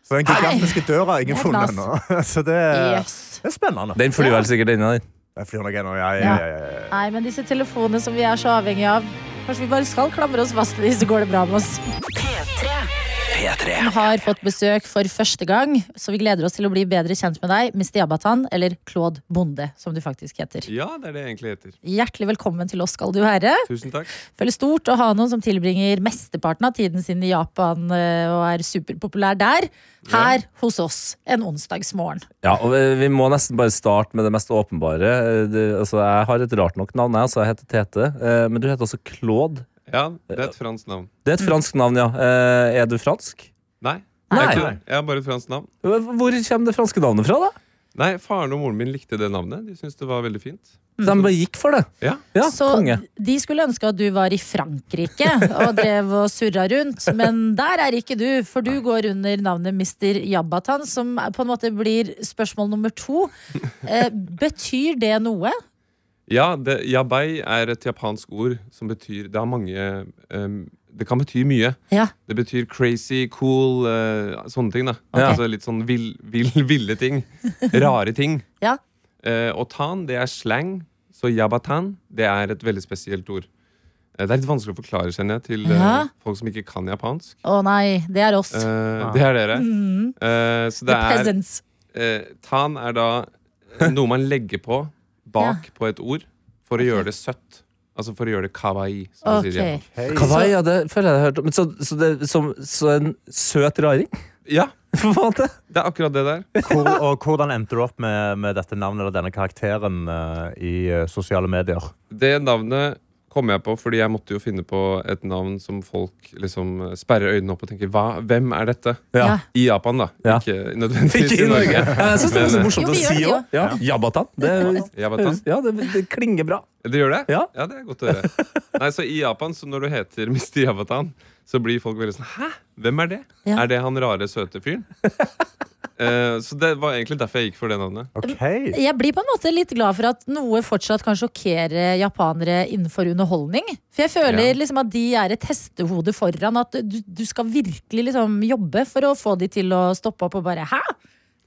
Speaker 4: Så den gigantiske døra har ingen
Speaker 2: Det er
Speaker 4: funnet
Speaker 2: knas.
Speaker 4: ennå. Så det er,
Speaker 2: Yes.
Speaker 4: det er spennende.
Speaker 3: Den flyr vel sikkert ennå, den.
Speaker 4: Jeg flyr nok ennå, ja, ja, ja, ja, ja.
Speaker 2: Nei, men disse telefonene som vi er så avhengige av Kanskje vi bare skal klamre oss fast i de, så går det bra med oss.
Speaker 1: P3
Speaker 2: Vi har fått besøk for første gang, så vi gleder oss til å bli bedre kjent med deg, Mr. Jabatan, eller Claude Bonde, som du faktisk heter.
Speaker 8: Ja, det er det jeg egentlig heter.
Speaker 2: Hjertelig velkommen til oss skal du være.
Speaker 8: Tusen takk.
Speaker 2: Føles stort å ha noen som tilbringer mesteparten av tiden sin i Japan eh, og er superpopulær der. Her hos oss en onsdagsmorgen.
Speaker 3: Ja, og eh, Vi må nesten bare starte med det mest åpenbare. Eh, Det, altså, jeg har et rart nok navn, jeg. Altså, jeg heter Tete. eh, Men du heter også Claude.
Speaker 8: Ja, det er et fransk navn.
Speaker 3: Det er et fransk navn, ja. Eh, Er du fransk?
Speaker 8: Nei.
Speaker 3: Nei.
Speaker 8: Jeg, er ikke det. jeg har bare et fransk navn.
Speaker 3: Hvor kommer det franske navnet fra, da?
Speaker 8: Nei, faren og moren min likte det navnet. De syntes det var veldig fint.
Speaker 3: Så de bare gikk for det.
Speaker 8: Ja.
Speaker 3: Ja,
Speaker 2: Så
Speaker 3: Ah, konge.
Speaker 2: de skulle ønske at du var i Frankrike og drev og surra rundt, men der er ikke du, for du går under navnet Mr. Jabbatan, som er- på en måte blir spørsmål nummer to. Eh, betyr det noe?
Speaker 8: Ja, det, yabai er et japansk ord som betyr Det har mange em, Det kan bety mye.
Speaker 2: Ja.
Speaker 8: Det betyr crazy, cool, eh, sånne ting. da
Speaker 3: Ja.
Speaker 8: Altså Litt sånn vill, vill, ville ting. Rare ting.
Speaker 2: Ja.
Speaker 8: Eh, og tan, det er slang. Så yabatan, det er et veldig spesielt ord. Eh, det er litt vanskelig å forklare, kjenner jeg, til eh,
Speaker 2: Ja.
Speaker 8: folk som ikke kan japansk.
Speaker 2: Å nei, det er oss.
Speaker 8: Eh,
Speaker 3: Ah.
Speaker 8: Det er dere. Eh, så
Speaker 2: Mm. The
Speaker 8: det er
Speaker 2: peasants.
Speaker 8: eh, Tan er da noe man legger på bak på et ord for å gjøre det søtt. Altså for å gjøre det kawaii. Som de sier. i
Speaker 2: Ok.
Speaker 8: Japan.
Speaker 4: Hei.
Speaker 3: Kawaii, ja, det føler jeg jeg har hørt om. Men Så, så, det, som, så en søt raring,
Speaker 8: Ja,
Speaker 3: på en måte.
Speaker 8: det er akkurat det der.
Speaker 4: Hvor, og hvordan endte du opp med, med dette navnet eller denne karakteren eh, i eh, sosiale medier?
Speaker 8: Det navnet kom jeg på fordi jeg måtte jo finne på et navn som folk liksom sperrer øynene opp og tenker Hva, Hvem er dette?
Speaker 2: Ja.
Speaker 8: I Japan, da.
Speaker 3: Ja.
Speaker 8: Ikke nødvendigvis
Speaker 3: Ikke i Norge. Jeg syns det er så morsomt
Speaker 2: Jo,
Speaker 3: å
Speaker 2: vi gjør
Speaker 3: si
Speaker 2: det jo.
Speaker 3: òg. Ja. Jabatan. Det,
Speaker 8: Yabatan.
Speaker 3: ja, det, det klinger bra.
Speaker 8: Det gjør det?
Speaker 3: Ja.
Speaker 8: det er godt å høre. Nei, så I Japan, så når du heter Mr. Yabatan, så blir folk veldig sånn Hæ? Hvem er det?
Speaker 2: Ja.
Speaker 8: Er det han rare, søte fyren? Eh, så det var egentlig derfor jeg gikk for det navnet.
Speaker 4: Ok,
Speaker 2: Jeg blir på en måte litt glad for at noe fortsatt kan sjokkere japanere innenfor underholdning. For jeg føler
Speaker 8: Ja.
Speaker 2: liksom at de er et hestehode foran. At du, du skal virkelig liksom jobbe for å få de til å stoppe opp og bare Hæ?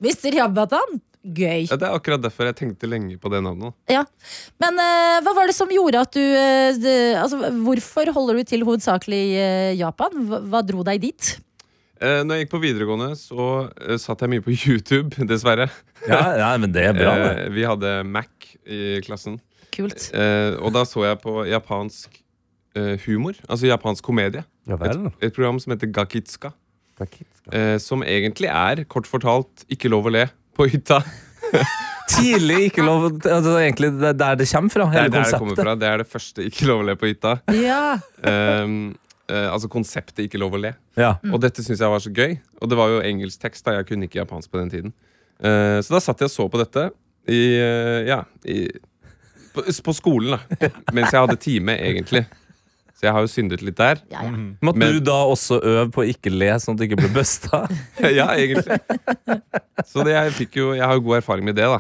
Speaker 2: Mr. Jabbatan. Gøy.
Speaker 8: Ja, det er akkurat derfor jeg tenkte lenge på det navnet.
Speaker 2: Ja. Men eh, hva var det som gjorde at du eh, det- altså, Hvorfor holder du til hovedsakelig i eh, Japan? Hva, hva dro deg dit?
Speaker 8: Eh, når jeg gikk på videregående, så eh, satt jeg mye på YouTube, dessverre.
Speaker 3: Ja, ja, men det er bra. det.
Speaker 8: Eh, vi hadde Mac i klassen,
Speaker 2: Kult.
Speaker 8: eh, og da så jeg på japansk eh, humor. Altså japansk komedie.
Speaker 4: Ja
Speaker 8: Et,
Speaker 4: vel.
Speaker 8: et program som heter Gakitska.
Speaker 4: Takitska.
Speaker 8: eh, som egentlig er, kort fortalt, ikke lov å le på hytta.
Speaker 3: Tidlig ikke lov altså, Det er egentlig det- der det kommer fra.
Speaker 8: Det
Speaker 3: Hele
Speaker 8: er der det kommer
Speaker 3: konseptet.
Speaker 8: fra. Det er det første ikke lov å le på hytta.
Speaker 2: Ja.
Speaker 8: Ehm, eh, altså konseptet ikke lov å le.
Speaker 3: Ja.
Speaker 8: Og dette syns jeg var så gøy. Og det var jo engelsk tekst, da. Jeg kunne ikke japansk på den tiden. Eh, så da satt jeg og så på dette i eh, Ja, i, på, på skolen, da. Mens jeg hadde time, egentlig. Så jeg har jo syndet litt der.
Speaker 2: ja, ja.
Speaker 3: Måtte
Speaker 8: Men-
Speaker 3: du da også øve på å ikke le, sånn at du ikke blir busta?
Speaker 8: ja, egentlig. Så det, jeg, fikk jo, jeg har jo god erfaring med det, da.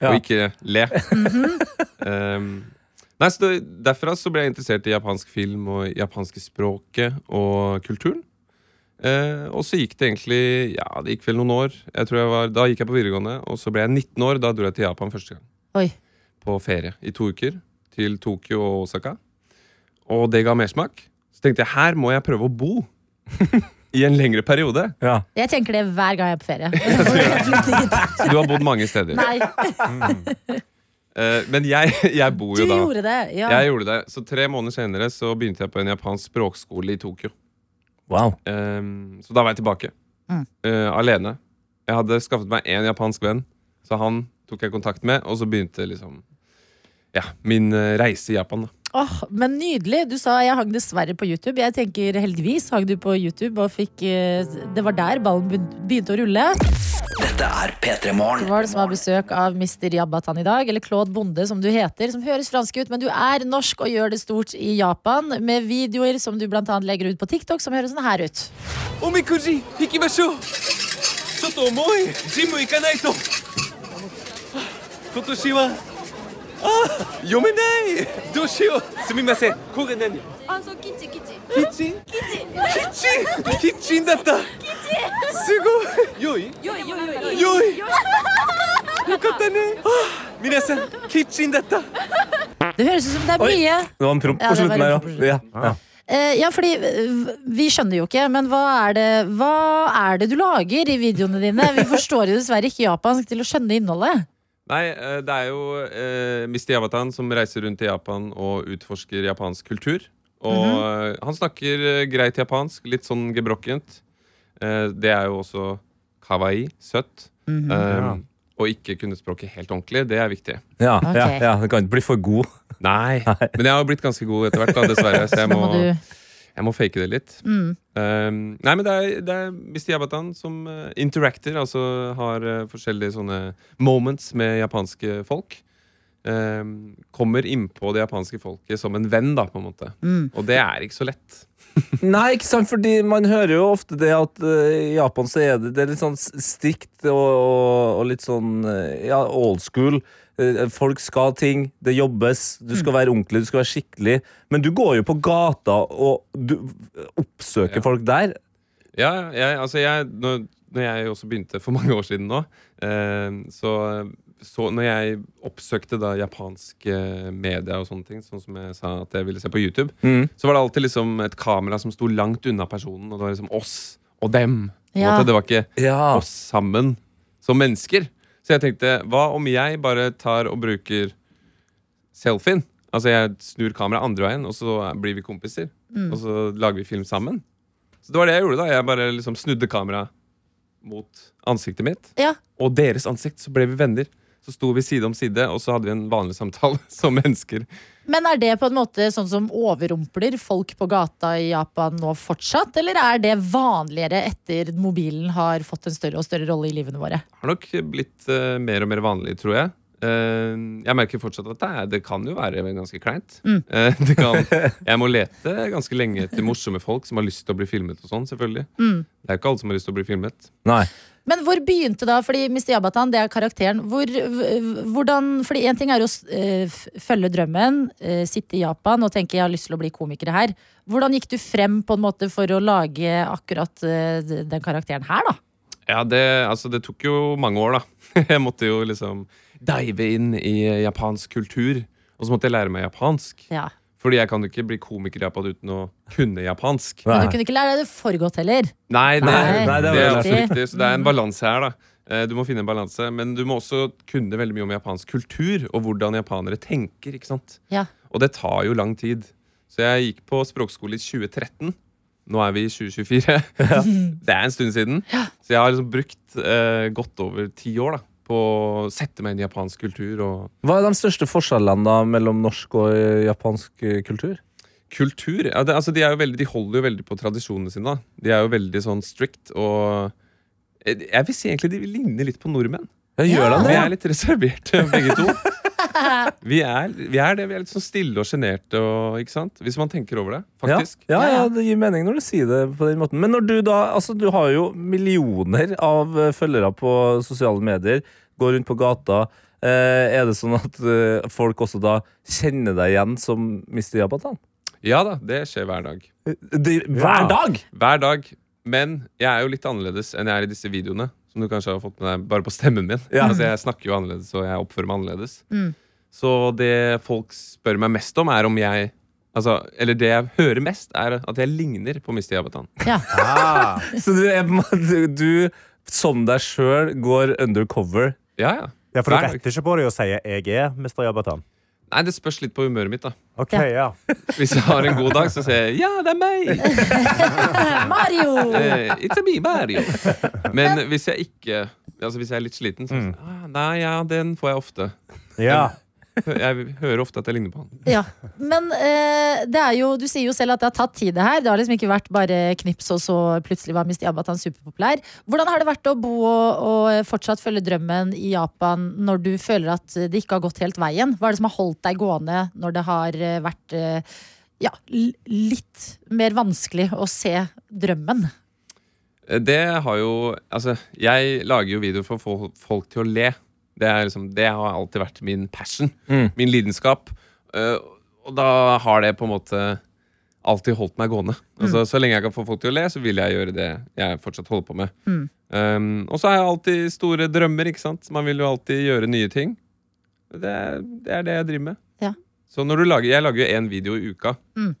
Speaker 3: Ja.
Speaker 8: Og ikke le. Ehm, nei, så det, Derfra så ble jeg interessert i japansk film og japanske språket og kulturen. Eh, og så gikk det egentlig Ja, det gikk vel noen år. Jeg tror jeg var, da gikk jeg på videregående, og så ble jeg 19 år. Da dro jeg til Japan første gang.
Speaker 2: Oi.
Speaker 8: På ferie i to uker. Til Tokyo og Osaka. Og det ga mersmak. Så tenkte jeg her må jeg prøve å bo i en lengre periode.
Speaker 3: Ja.
Speaker 2: Jeg tenker det hver gang jeg er på ferie. Hvorfor jeg flytter hit?
Speaker 8: Så du har bodd mange steder.
Speaker 2: Nei,
Speaker 8: Eh, men jeg, jeg bor
Speaker 2: du
Speaker 8: jo da.
Speaker 2: gjorde det. Ja.
Speaker 8: Jeg gjorde det. Så tre måneder senere så begynte jeg på en japansk språkskole i Tokyo.
Speaker 3: Wow.
Speaker 8: Ehm, så da var jeg tilbake.
Speaker 2: Mm.
Speaker 8: Eh, alene. Jeg hadde skaffet meg én japansk venn, så han tok jeg kontakt med, og så begynte liksom ja, min eh, reise i Japan, da.
Speaker 2: Åh, men nydelig. Du sa jeg hang dessverre på YouTube. Jeg tenker heldigvis hang du på YouTube og fikk eh, Det var der ballen be- begynte å rulle.
Speaker 1: Dette er P3
Speaker 2: Det
Speaker 1: Morgen.
Speaker 2: var det som har besøk av Mr. Jabbatan i dag, eller Claude Bonde som du heter, som høres fransk ut, men du er norsk og gjør det stort i Japan, med videoer som du blant annet legger ut på TikTok, som høres sånn her ut.
Speaker 8: おみくじ行きましょうちょっと重いジム行かないとはあ今年はああ読めないどうしようすみませんこれ何あそうキッチンキッチンキッチンキッチンだったキッチンすごい良い良い良い良いよかったねああ皆さんキッチンだった
Speaker 2: Det høres ut som det er mye.
Speaker 3: Det var en promp
Speaker 2: Ja,
Speaker 3: på
Speaker 2: det var
Speaker 3: slutten
Speaker 2: en
Speaker 3: her,
Speaker 2: promp på slutten.
Speaker 3: ja. ja. ja.
Speaker 2: Eh, ja, fordi eh, vi skjønner jo ikke, men hva er, det, hva er det du lager i videoene dine? Vi forstår jo dessverre ikke japansk til å skjønne innholdet.
Speaker 8: Nei, eh, det er jo eh, Mr. Yabatan som reiser rundt i Japan og utforsker japansk kultur. Og
Speaker 2: Mhm.
Speaker 8: eh, han snakker eh, greit japansk, litt sånn gebrokkent. Eh, det er jo også kawaii, søtt.
Speaker 2: Mhm.
Speaker 8: Eh,
Speaker 4: Ja.
Speaker 8: Og ikke kunne språket helt ordentlig, det er viktig.
Speaker 3: ja, ja,
Speaker 2: Ah. Ok.
Speaker 3: ja. Det kan ikke bli for god.
Speaker 8: Nei, Men jeg har jo blitt ganske god etter hvert, da, dessverre. Så jeg
Speaker 2: Nå må du...
Speaker 8: må, jeg må fake det litt. Eh, nei, men det er, det er Mr. Yabatan som eh, interacter, altså har eh, forskjellige sånne moments med japanske folk. Eh, kommer innpå det japanske folket som en venn, da, på en måte. Og det er ikke så lett.
Speaker 3: Nei, ikke sant, fordi man hører jo ofte det at eh, i Japan så er det, det er litt sånn s- strikt og, og, og litt sånn eh, ja, old school. Eh, Folk skal ha ting, det jobbes, du skal være ordentlig, du skal være skikkelig. Men du går jo på gata og du oppsøker
Speaker 8: Ja.
Speaker 3: folk der.
Speaker 8: Ja, jeg, altså jeg, når, når jeg også begynte for mange år siden nå, eh, så, så når jeg oppsøkte da japanske media og sånne ting, sånn som jeg sa at jeg ville se på YouTube, så var det alltid liksom et kamera som sto langt unna personen, og det var liksom oss og dem. på en
Speaker 2: Ja.
Speaker 8: måte. Det var ikke
Speaker 3: Ja.
Speaker 8: oss sammen som mennesker. Så jeg tenkte, hva om jeg bare tar og bruker selfien? Altså jeg snur kameraet andre veien, og så blir vi kompiser. Og så lager vi film sammen. Så det var det jeg gjorde da. Jeg bare liksom snudde kameraet mot ansiktet mitt.
Speaker 2: Ja,
Speaker 8: Og deres ansikt, så ble vi venner. Så sto vi side om side, og så hadde vi en vanlig samtale som mennesker.
Speaker 2: Men er det på en måte sånn som overrumpler folk på gata i Japan nå fortsatt, eller er det vanligere etter mobilen har fått en større og større rolle i livene våre?
Speaker 8: har nok blitt eh, mer og mer vanlig, tror jeg. Eh, jeg merker fortsatt at det, er, det kan jo være ganske kleint. Eh, det kan, jeg må lete ganske lenge etter morsomme folk som har lyst til å bli filmet. og sånn, selvfølgelig. Det er jo ikke alle som har lyst til å bli filmet.
Speaker 3: Nei.
Speaker 2: Men hvor begynte da, fordi Mr. Jabatan, det er karakteren, hvor, v- hvordan, fordi en ting er å s- eh, f- følge drømmen, eh, sitte i Japan og tenke jeg har lyst til å bli komiker her. Hvordan gikk du frem på en måte for å lage akkurat eh, d- den karakteren her da?
Speaker 8: Ja, det, altså, det tok jo mange år, da. Jeg måtte jo liksom dive inn i japansk kultur. Og så måtte jeg lære meg japansk.
Speaker 2: Ja.
Speaker 8: Fordi jeg kan jo ikke bli komiker i Japan uten å kunne japansk.
Speaker 2: Men du kunne ikke lære deg det for godt heller.
Speaker 8: Nei, det,
Speaker 2: Nei,
Speaker 8: det,
Speaker 3: nei, det var
Speaker 8: er
Speaker 2: riktig.
Speaker 8: også riktig. Så det er en balanse her, da. Eh, Du må finne en balanse, men du må også kunne veldig mye om japansk kultur og hvordan japanere tenker. ikke sant?
Speaker 2: Ja.
Speaker 8: Og det tar jo lang tid. Så jeg gikk på språkskole i 2013. Nå er vi i 2024. Det er en stund siden. Så jeg har liksom brukt eh, godt over ti år da, på å sette meg inn i japansk kultur. Og
Speaker 3: Hva er de største forskjellene da mellom norsk og eh, japansk eh, kultur?
Speaker 8: kultur ja, det, altså, de, er jo veldig, de holder jo veldig på tradisjonene sine. da. De er jo veldig sånn strict og Jeg jeg vil si egentlig de ligner litt på nordmenn.
Speaker 3: Ja, gjør de
Speaker 8: Vi
Speaker 3: det?
Speaker 8: er litt reserverte, begge to. Vi er, vi er det. Vi er litt sånn stille og sjenerte, og- ikke sant? Hvis man tenker over det,
Speaker 3: Ja.
Speaker 8: faktisk.
Speaker 3: Ja, ja, det gir mening når du sier det på den måten. Men når du da, altså du har jo millioner av eh, følgere på sosiale medier, går rundt på gata. Eh, er det sånn at eh, folk også da kjenner deg igjen som Mr. Jabatan?
Speaker 8: Ja da, det skjer hver dag.
Speaker 3: hver dag?
Speaker 8: Hver dag. Men jeg er jo litt annerledes enn jeg er i disse videoene. Som du kanskje har fått med deg bare på stemmen min. Altså, jeg snakker jo annerledes, og jeg oppfører meg annerledes. Så det folk spør meg mest om, er om jeg Altså, eller det jeg hører mest, er at jeg ligner på Mr. Jabatan.
Speaker 2: Ja.
Speaker 3: Så du, er, på en måte- du som deg sjøl går undercover.
Speaker 8: Ja, ja.
Speaker 4: Ja, for du
Speaker 8: Hver dag.
Speaker 4: retter ikke på det og sier 'jeg er Mr. Jabatan'.
Speaker 8: Nei, det spørs litt på humøret mitt, da.
Speaker 4: Ok, ja.
Speaker 8: Hvis jeg har en god dag, så sier jeg 'ja, det er meg'.
Speaker 2: Mario!
Speaker 8: Eh, It's a me, Mario. Men hvis jeg ikke Altså hvis jeg er litt sliten, så er det sånn, ah, Nei, ja, den får jeg ofte.
Speaker 4: ja.
Speaker 8: Jeg hører ofte at jeg ligner på han.
Speaker 2: Ja, men eh, det er jo, du sier jo selv at det har tatt tid det her. Det har liksom ikke vært bare knips, og så plutselig var Mr. Jabatan superpopulær. Hvordan har det vært å bo og, og fortsatt følge drømmen i Japan når du føler at det ikke har gått helt veien? Hva er det som har holdt deg gående når det har eh, vært eh, ja, l- litt mer vanskelig å se drømmen?
Speaker 8: Eh, Det har jo Altså, jeg lager jo videoer for å få folk til å le. Det, er liksom, det har alltid vært min passion.
Speaker 2: Mm.
Speaker 8: Min lidenskap. Eh, og da har det på en måte alltid holdt meg gående.
Speaker 2: Mm.
Speaker 8: Altså, Så lenge jeg kan få folk til å le, så vil jeg gjøre det jeg fortsatt holder på med.
Speaker 2: Mm.
Speaker 8: Um, og så har jeg alltid store drømmer, ikke sant. Man vil jo alltid gjøre nye ting. Det er det, er det jeg driver med.
Speaker 2: Ja.
Speaker 8: Så når du lager Jeg lager jo én video i uka.
Speaker 2: Mm.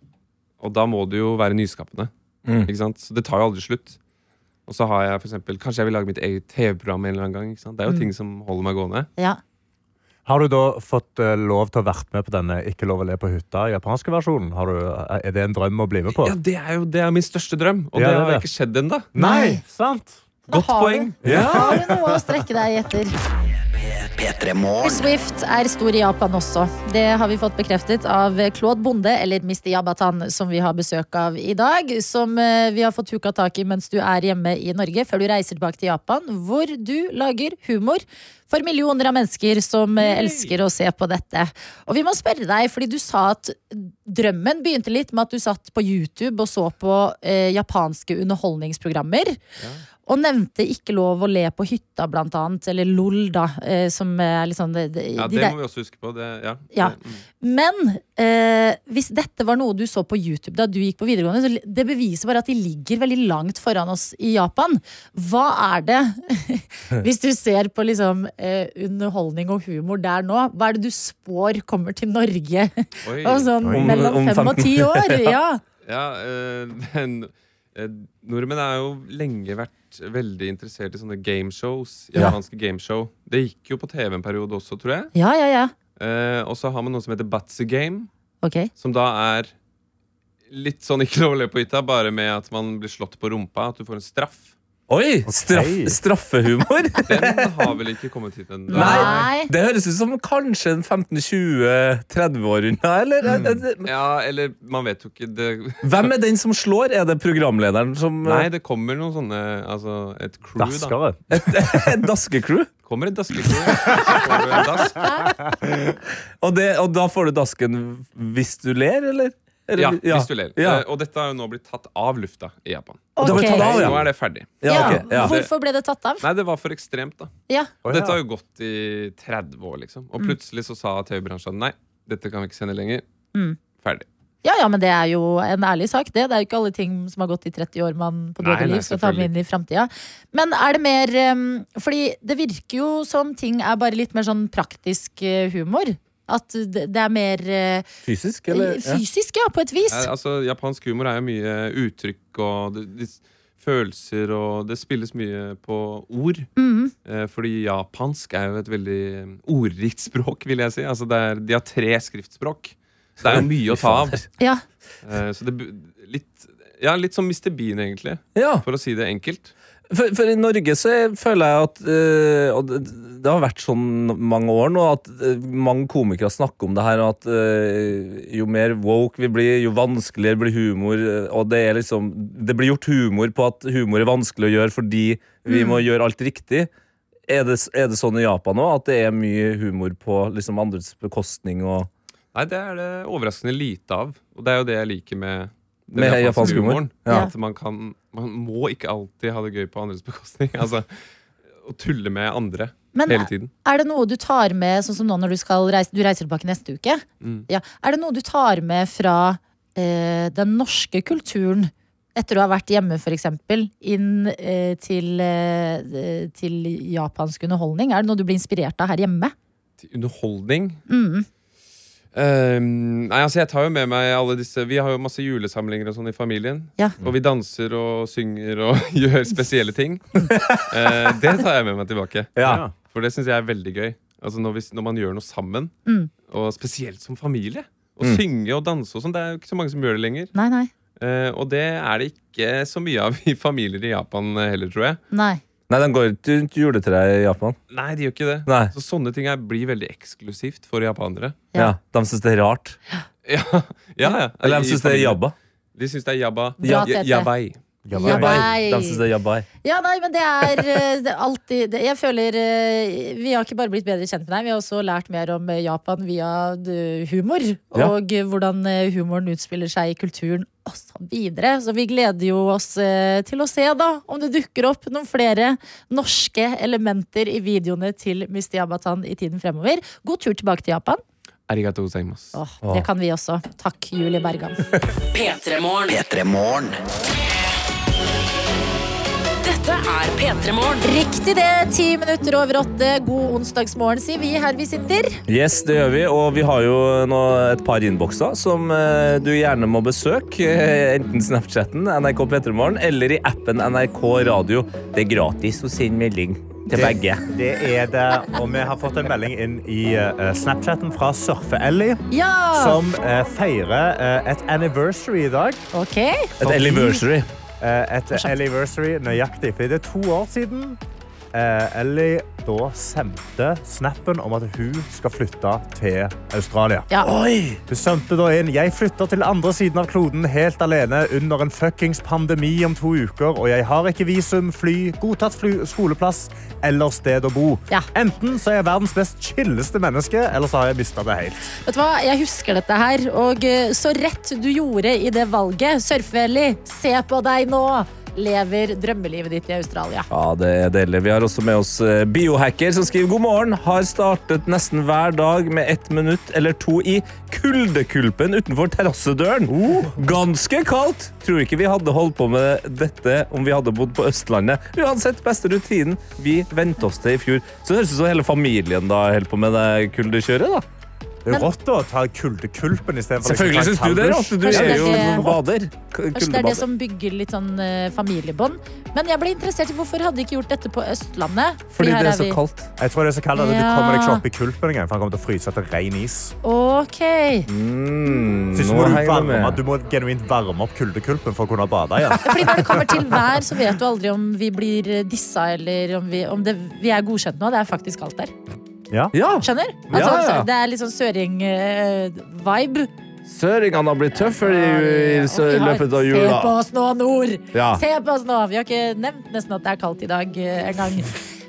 Speaker 8: Og da må du jo være nyskapende.
Speaker 3: Mm.
Speaker 8: Ikke sant? Så det tar jo aldri slutt. Og så har jeg for eksempel, Kanskje jeg vil lage mitt eget TV-program en eller annen gang. Ikke sant? Det er jo ting som holder meg gående.
Speaker 2: Ja.
Speaker 4: Har du da fått eh, lov til å være med på denne Ikke lov å le på hytta japanske versjonen? Har du, eh, er det en drøm å bli med på?
Speaker 8: Ja, Det er jo det er min største drøm, og
Speaker 4: Ja,
Speaker 8: det
Speaker 4: det er
Speaker 8: har
Speaker 4: det.
Speaker 8: ikke skjedd ennå.
Speaker 4: Nei, sant?
Speaker 2: Da
Speaker 8: Godt
Speaker 2: har
Speaker 8: poeng.
Speaker 2: Du, da har du noe å strekke deg etter.
Speaker 1: P3 Morgen.
Speaker 2: Swift er stor i Japan også. Det har vi fått bekreftet av Claude Bonde, eller Mr. Jabatan, som vi har besøk av i dag. Som eh, vi har fått huka tak i mens du er hjemme i Norge, før du reiser tilbake til Japan, hvor du lager humor for millioner av mennesker som eh, elsker å se på dette. Og vi må spørre deg, fordi du sa at drømmen begynte litt med at du satt på YouTube og så på eh, japanske underholdningsprogrammer. Og nevnte ikke lov å le på hytta, blant annet. Eller LOL, da. eh, Som er litt sånn de, de,
Speaker 8: Ja,
Speaker 2: de
Speaker 8: Det
Speaker 2: der.
Speaker 8: må vi også huske på. Det, ja.
Speaker 2: Ja.
Speaker 8: Det- mm.
Speaker 2: Men eh, hvis dette var noe du så på YouTube da du gikk på videregående, så li- det beviser bare at de ligger veldig langt foran oss i Japan. Hva er det, hvis du ser på liksom, eh, underholdning og humor der nå, hva er det du spår kommer til Norge
Speaker 8: Oi.
Speaker 2: om sånn
Speaker 3: Om-
Speaker 2: mellom
Speaker 3: om
Speaker 2: fem og
Speaker 3: 15.
Speaker 2: ti år? Ja.
Speaker 8: Ja, eh, men, eh, nordmenn har jo lenge vært veldig interessert i sånne gameshows.
Speaker 3: Ja.
Speaker 8: Japanske gameshow. Det gikk jo på TV en periode også, tror jeg.
Speaker 2: ja, ja, ja.
Speaker 8: Eh, og så har man noe som heter Batzy Game,
Speaker 2: Ok.
Speaker 8: som da er litt sånn ikke lov å le på hytta, bare med at man blir slått på rumpa, at du får en straff.
Speaker 3: Oi! Straff, straffehumor?
Speaker 8: Den har vel ikke kommet hit ennå.
Speaker 2: Nei.
Speaker 3: Det høres ut som kanskje en 15-20-30 år unna, eller?
Speaker 8: Mm.
Speaker 3: Er- er- er-
Speaker 8: Ja, eller man vet jo ikke det.
Speaker 3: Hvem er den som slår? Er det programlederen som eh,
Speaker 8: Nei, det kommer noen sånne Altså, et crew, da.
Speaker 4: Daskere.
Speaker 3: Daskecrew?
Speaker 8: Kommer et daskecrew. så får du en dask.
Speaker 3: Og, det, og da får du dasken hvis du ler, eller? eller
Speaker 8: Ja, hvis du ler.
Speaker 3: Ja.
Speaker 8: Eh, Og dette har jo nå blitt tatt av lufta i Japan.
Speaker 3: Og da blir det
Speaker 2: Ok.
Speaker 3: tatt av,
Speaker 8: Nå
Speaker 3: ja.
Speaker 8: er det ferdig.
Speaker 3: Ja, ok, ja.
Speaker 2: Hvorfor ble det tatt av?
Speaker 8: Nei, det var for ekstremt, da.
Speaker 2: Ja.
Speaker 8: Og dette har jo gått i
Speaker 3: Mm. Mm.
Speaker 8: 30 år, liksom. Og plutselig så sa TV-bransjen nei, dette kan vi ikke sende lenger. Ferdig.
Speaker 2: Ja, ja, men det er jo en ærlig sak, det. Det er jo ikke alle ting som har gått i 30 år man på
Speaker 8: Nei,
Speaker 2: døde
Speaker 8: nei,
Speaker 2: liv skal ta med inn i framtida. Men er det mer em, Fordi det virker jo som ting er bare litt mer sånn praktisk eh, humor. At det det er mer eh,
Speaker 3: Fysisk, eller? Ja.
Speaker 2: fysisk, ja, på et vis.
Speaker 8: Eh, Altså, japansk humor er jo mye uttrykk og det, det, følelser, og det spilles mye på ord. Eh, Fordi japansk er jo et veldig mm, ordrikt språk, vil jeg si. Altså, det er, de har tre skriftspråk. Så det er jo mye å ta av.
Speaker 2: Ja.
Speaker 8: Eh, Så det bu- litt, ja, litt som Mr. Bean, egentlig,
Speaker 3: Ja,
Speaker 8: for å si det enkelt.
Speaker 3: for, for i Norge så er- føler jeg at eh, og det, det har vært sånn mange år nå at eh, mange komikere snakker om det her at eh, jo mer woke vi blir, jo vanskeligere blir humor. eh, Og det er liksom Det blir gjort humor på at humor er vanskelig å gjøre fordi vi må gjøre alt riktig. Er det, er det sånn i Japan òg, at det er mye humor på liksom andres bekostning? og
Speaker 8: Nei, det er det overraskende lite av. Og det er jo det jeg liker med den
Speaker 3: Med japansk humor. Ja.
Speaker 8: At man, kan, man må ikke alltid ha det gøy på andres bekostning. Altså, å tulle med andre
Speaker 2: Men
Speaker 8: hele tiden.
Speaker 2: er det noe du tar med, sånn som nå når du skal reise Du reiser tilbake neste uke.
Speaker 8: Mm.
Speaker 2: Ja. Er det noe du tar med fra eh, den norske kulturen etter å ha vært hjemme, f.eks., inn eh, til, eh, til japansk underholdning? Er det noe du blir inspirert av her hjemme?
Speaker 8: Til Underholdning.
Speaker 2: Mm.
Speaker 8: Ehm, nei, altså jeg tar jo med meg alle disse Vi har jo masse julesamlinger og sånn i familien.
Speaker 2: Ja.
Speaker 8: Og vi danser og synger og gjør spesielle ting. Eh, det tar jeg med meg tilbake.
Speaker 3: Ja.
Speaker 8: For det syns jeg er veldig gøy. Altså når, vi, når man gjør noe sammen,
Speaker 2: Mm.
Speaker 8: og spesielt som familie. Å
Speaker 3: Mm.
Speaker 8: synge og danse og sånn. Det er jo ikke så mange som gjør det lenger.
Speaker 2: Nei, nei.
Speaker 8: Eh, og det er det ikke så mye av i familier i Japan eh, heller, tror jeg.
Speaker 2: nei.
Speaker 3: Nei, de går ikke rundt juletreet i Japan.
Speaker 8: Nei, de gjør ikke det.
Speaker 3: Nei.
Speaker 8: Så sånne ting her blir veldig eksklusivt for japanere.
Speaker 2: Ja.
Speaker 3: Ja. De syns det er rart.
Speaker 8: Ja, ja, ja.
Speaker 3: Eller de syns det er
Speaker 8: jabba.
Speaker 3: jabba.
Speaker 8: De syns det er jabba.
Speaker 2: Bra, Tete.
Speaker 8: Jabbai.
Speaker 2: Jabba. Jabbai.
Speaker 3: De syns det er jabbai.
Speaker 2: Ja, nei, men det er, eh, det er alltid det, Jeg føler eh, Vi har ikke bare blitt bedre kjent med deg, vi har også lært mer om eh, Japan via eh, humor.
Speaker 3: Ja.
Speaker 2: Og eh, hvordan eh, humoren utspiller seg i kulturen også videre. Så vi gleder jo oss eh, til å se da om det dukker opp noen flere norske elementer i videoene til Musti Abatan i tiden fremover. God tur tilbake til Japan.
Speaker 8: Arigato gozaimasu.
Speaker 2: Åh, det kan vi også. Takk, Julie Bergan.
Speaker 5: P3morgen.
Speaker 1: P3morgen.
Speaker 5: Dette er P3morgen.
Speaker 2: Riktig det, ti minutter over åtte. God onsdagsmorgen, sier vi her vi sitter.
Speaker 3: Yes, det gjør vi, og vi har jo nå et par innbokser som eh, du gjerne må besøke. eh, Enten Snapchatten, NRK Petremorgen eller i appen NRK Radio. Det er gratis å sende melding til begge.
Speaker 4: Det er det. Og vi har fått en melding inn i eh, Snapchatten fra Surfe-Ellie,
Speaker 2: Ja!
Speaker 4: som eh, feirer eh, et anniversary i dag.
Speaker 2: Ok.
Speaker 3: Et anniversary.
Speaker 4: Eh, et anniversary nøyaktig, fordi det er to år siden eh, Ellie da sendte snappen om at hun skal flytte til Australia.
Speaker 2: Ja.
Speaker 3: Oi!
Speaker 4: Hun sendte da inn «Jeg flytter til andre siden av kloden helt alene under en fuckings pandemi om to uker, og jeg har ikke visum, fly, godtatt fly, skoleplass eller sted å bo.
Speaker 2: Ja.
Speaker 4: Enten så er jeg verdens mest chilleste menneske, eller så har jeg mistet det helt.
Speaker 2: Vet du hva, jeg husker dette her, og eh, så rett du gjorde i det valget. Surfeli, se på deg nå! Lever drømmelivet ditt i Australia.
Speaker 3: Ja, det er deilig. Vi har også med oss eh, biohacker som skriver god morgen. Har startet nesten hver dag med ett minutt eller to i kuldekulpen utenfor terrassedøren. Ganske kaldt. Tror ikke vi hadde holdt på med dette om vi hadde bodd på Østlandet. Uansett, beste rutinen. Vi vente oss til i fjor. Så det høres ut som hele familien da holder på med det kuldekjøret, da.
Speaker 4: Det er jo rått å ta kuldekulpen i stedet for
Speaker 3: Selvfølgelig
Speaker 4: liksom
Speaker 3: syns du det er rått. Du
Speaker 2: Kanskje
Speaker 3: er
Speaker 2: det er
Speaker 3: jo
Speaker 2: det-
Speaker 3: bader. K-
Speaker 2: Kanskje det er det
Speaker 3: Kuldebader.
Speaker 2: som bygger litt sånn eh, familiebånd. Men jeg ble interessert i hvorfor hadde de ikke gjort dette på Østlandet? Fordi
Speaker 3: Fordi
Speaker 2: her er
Speaker 3: det er så
Speaker 2: vi-
Speaker 3: kaldt.
Speaker 4: Jeg tror det er så kaldt at du
Speaker 2: Ja.
Speaker 4: kommer deg ikke opp i kulpen engang, for han kommer til å fryse etter ren is.
Speaker 2: Ok.
Speaker 3: Mm, nå
Speaker 4: Så ikke må du,
Speaker 3: henger det
Speaker 4: varme,
Speaker 3: med.
Speaker 4: at du må genuint varme opp kuldekulpen for å kunne bade igjen.
Speaker 2: Fordi når det kommer til vær, så vet du aldri om vi blir eh, dissa eller om vi, om det, vi er godkjent nå. Det er faktisk kaldt der.
Speaker 3: Ja,
Speaker 2: Skjønner?
Speaker 3: Ja,
Speaker 2: Altså,
Speaker 3: ja.
Speaker 2: Det er litt sånn søring-vibe.
Speaker 3: Søringene har blitt tøffere i, i sø- i løpet av
Speaker 2: Se på
Speaker 3: jula.
Speaker 2: oss nå, nord!
Speaker 3: Ja.
Speaker 2: Se på oss nå! Vi har ikke nevnt nesten at det er kaldt i dag eh, engang.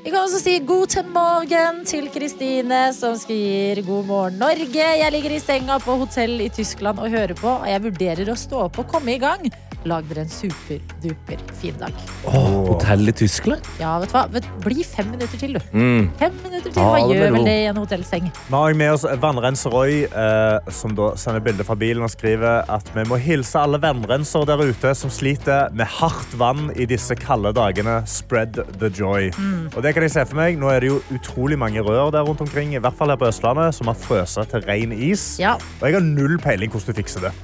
Speaker 2: Vi kan også si god til morgen til Kristine, som skriver god morgen, Norge. Jeg ligger i senga på hotell i Tyskland og hører på, og jeg vurderer å stå opp og komme i gang. Lag dere en superduper fin dag.
Speaker 3: Hotell i Tyskland?
Speaker 2: Ja, vet du hva? Vet- Bli fem minutter til, du.
Speaker 3: Mm.
Speaker 2: Fem minutter til.
Speaker 3: Ta
Speaker 2: Hva
Speaker 3: det med
Speaker 2: gjør
Speaker 3: ro.
Speaker 2: vel det i en hotellseng?
Speaker 4: Vi har også med oss vannrenser Roy, eh, som da sender bilde fra bilen og skriver at vi må hilse alle vannrensere der ute som sliter med hardt vann i disse kalde dagene. Spread the joy.
Speaker 2: Mm.
Speaker 4: Og det kan jeg se for meg. Nå er det jo utrolig mange rør der rundt omkring, i hvert fall her på Østlandet, som har frøset til ren is.
Speaker 2: Ja.
Speaker 4: Og jeg har null peiling hvordan du fikser det.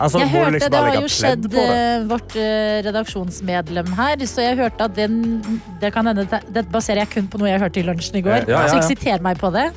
Speaker 4: Altså,
Speaker 2: jeg
Speaker 4: må
Speaker 2: hørte,
Speaker 4: du liksom
Speaker 2: Det
Speaker 4: bare
Speaker 2: har
Speaker 4: legge
Speaker 2: jo
Speaker 4: pledd
Speaker 2: skjedd
Speaker 4: på det?
Speaker 2: eh, vårt eh, redaksjonsmedlem her, så jeg hørte at den Det kan hende det- det baserer jeg kun på noe jeg hørte i lunsjen i går,
Speaker 3: Ja, ja,
Speaker 2: så
Speaker 3: ja.
Speaker 2: ikke siter meg på det.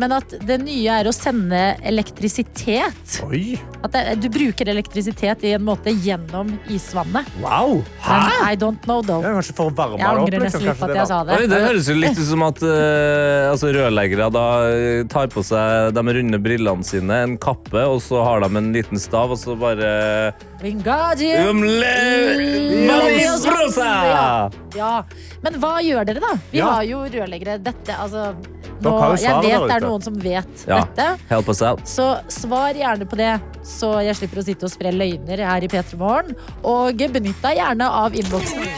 Speaker 2: Men at det nye er å sende elektrisitet.
Speaker 4: Oi,
Speaker 2: At det, du bruker elektrisitet i en måte gjennom isvannet.
Speaker 4: wow!
Speaker 2: Men I don't know,
Speaker 4: Det
Speaker 2: though.
Speaker 4: er kanskje for å
Speaker 2: Jeg
Speaker 4: varme det opp.
Speaker 2: angrer
Speaker 4: Liksom.
Speaker 2: nesten litt
Speaker 4: kanskje
Speaker 2: på at jeg
Speaker 4: det da.
Speaker 2: sa
Speaker 3: Oi, det
Speaker 2: det.
Speaker 3: høres jo litt ut som at eh, altså rørleggere da eh, tar på seg de runde brillene sine, en kappe, og så har de en liten stav, og så bare eh,
Speaker 2: Wingardium.
Speaker 3: Umle- Valsrosa!
Speaker 2: Ja, Men hva gjør dere, da? Vi
Speaker 4: Ja.
Speaker 2: har jo rørleggere. Dette, altså nå,
Speaker 4: Dere har jo
Speaker 2: Jeg
Speaker 4: svaret
Speaker 2: vet
Speaker 4: der
Speaker 2: det er
Speaker 4: ute.
Speaker 2: noen som vet
Speaker 3: Ja.
Speaker 2: dette.
Speaker 3: Help us out.
Speaker 2: Så svar gjerne på det, så jeg slipper å sitte og spre løgner her i P3 Morgen. Og benytt deg gjerne av innboksen.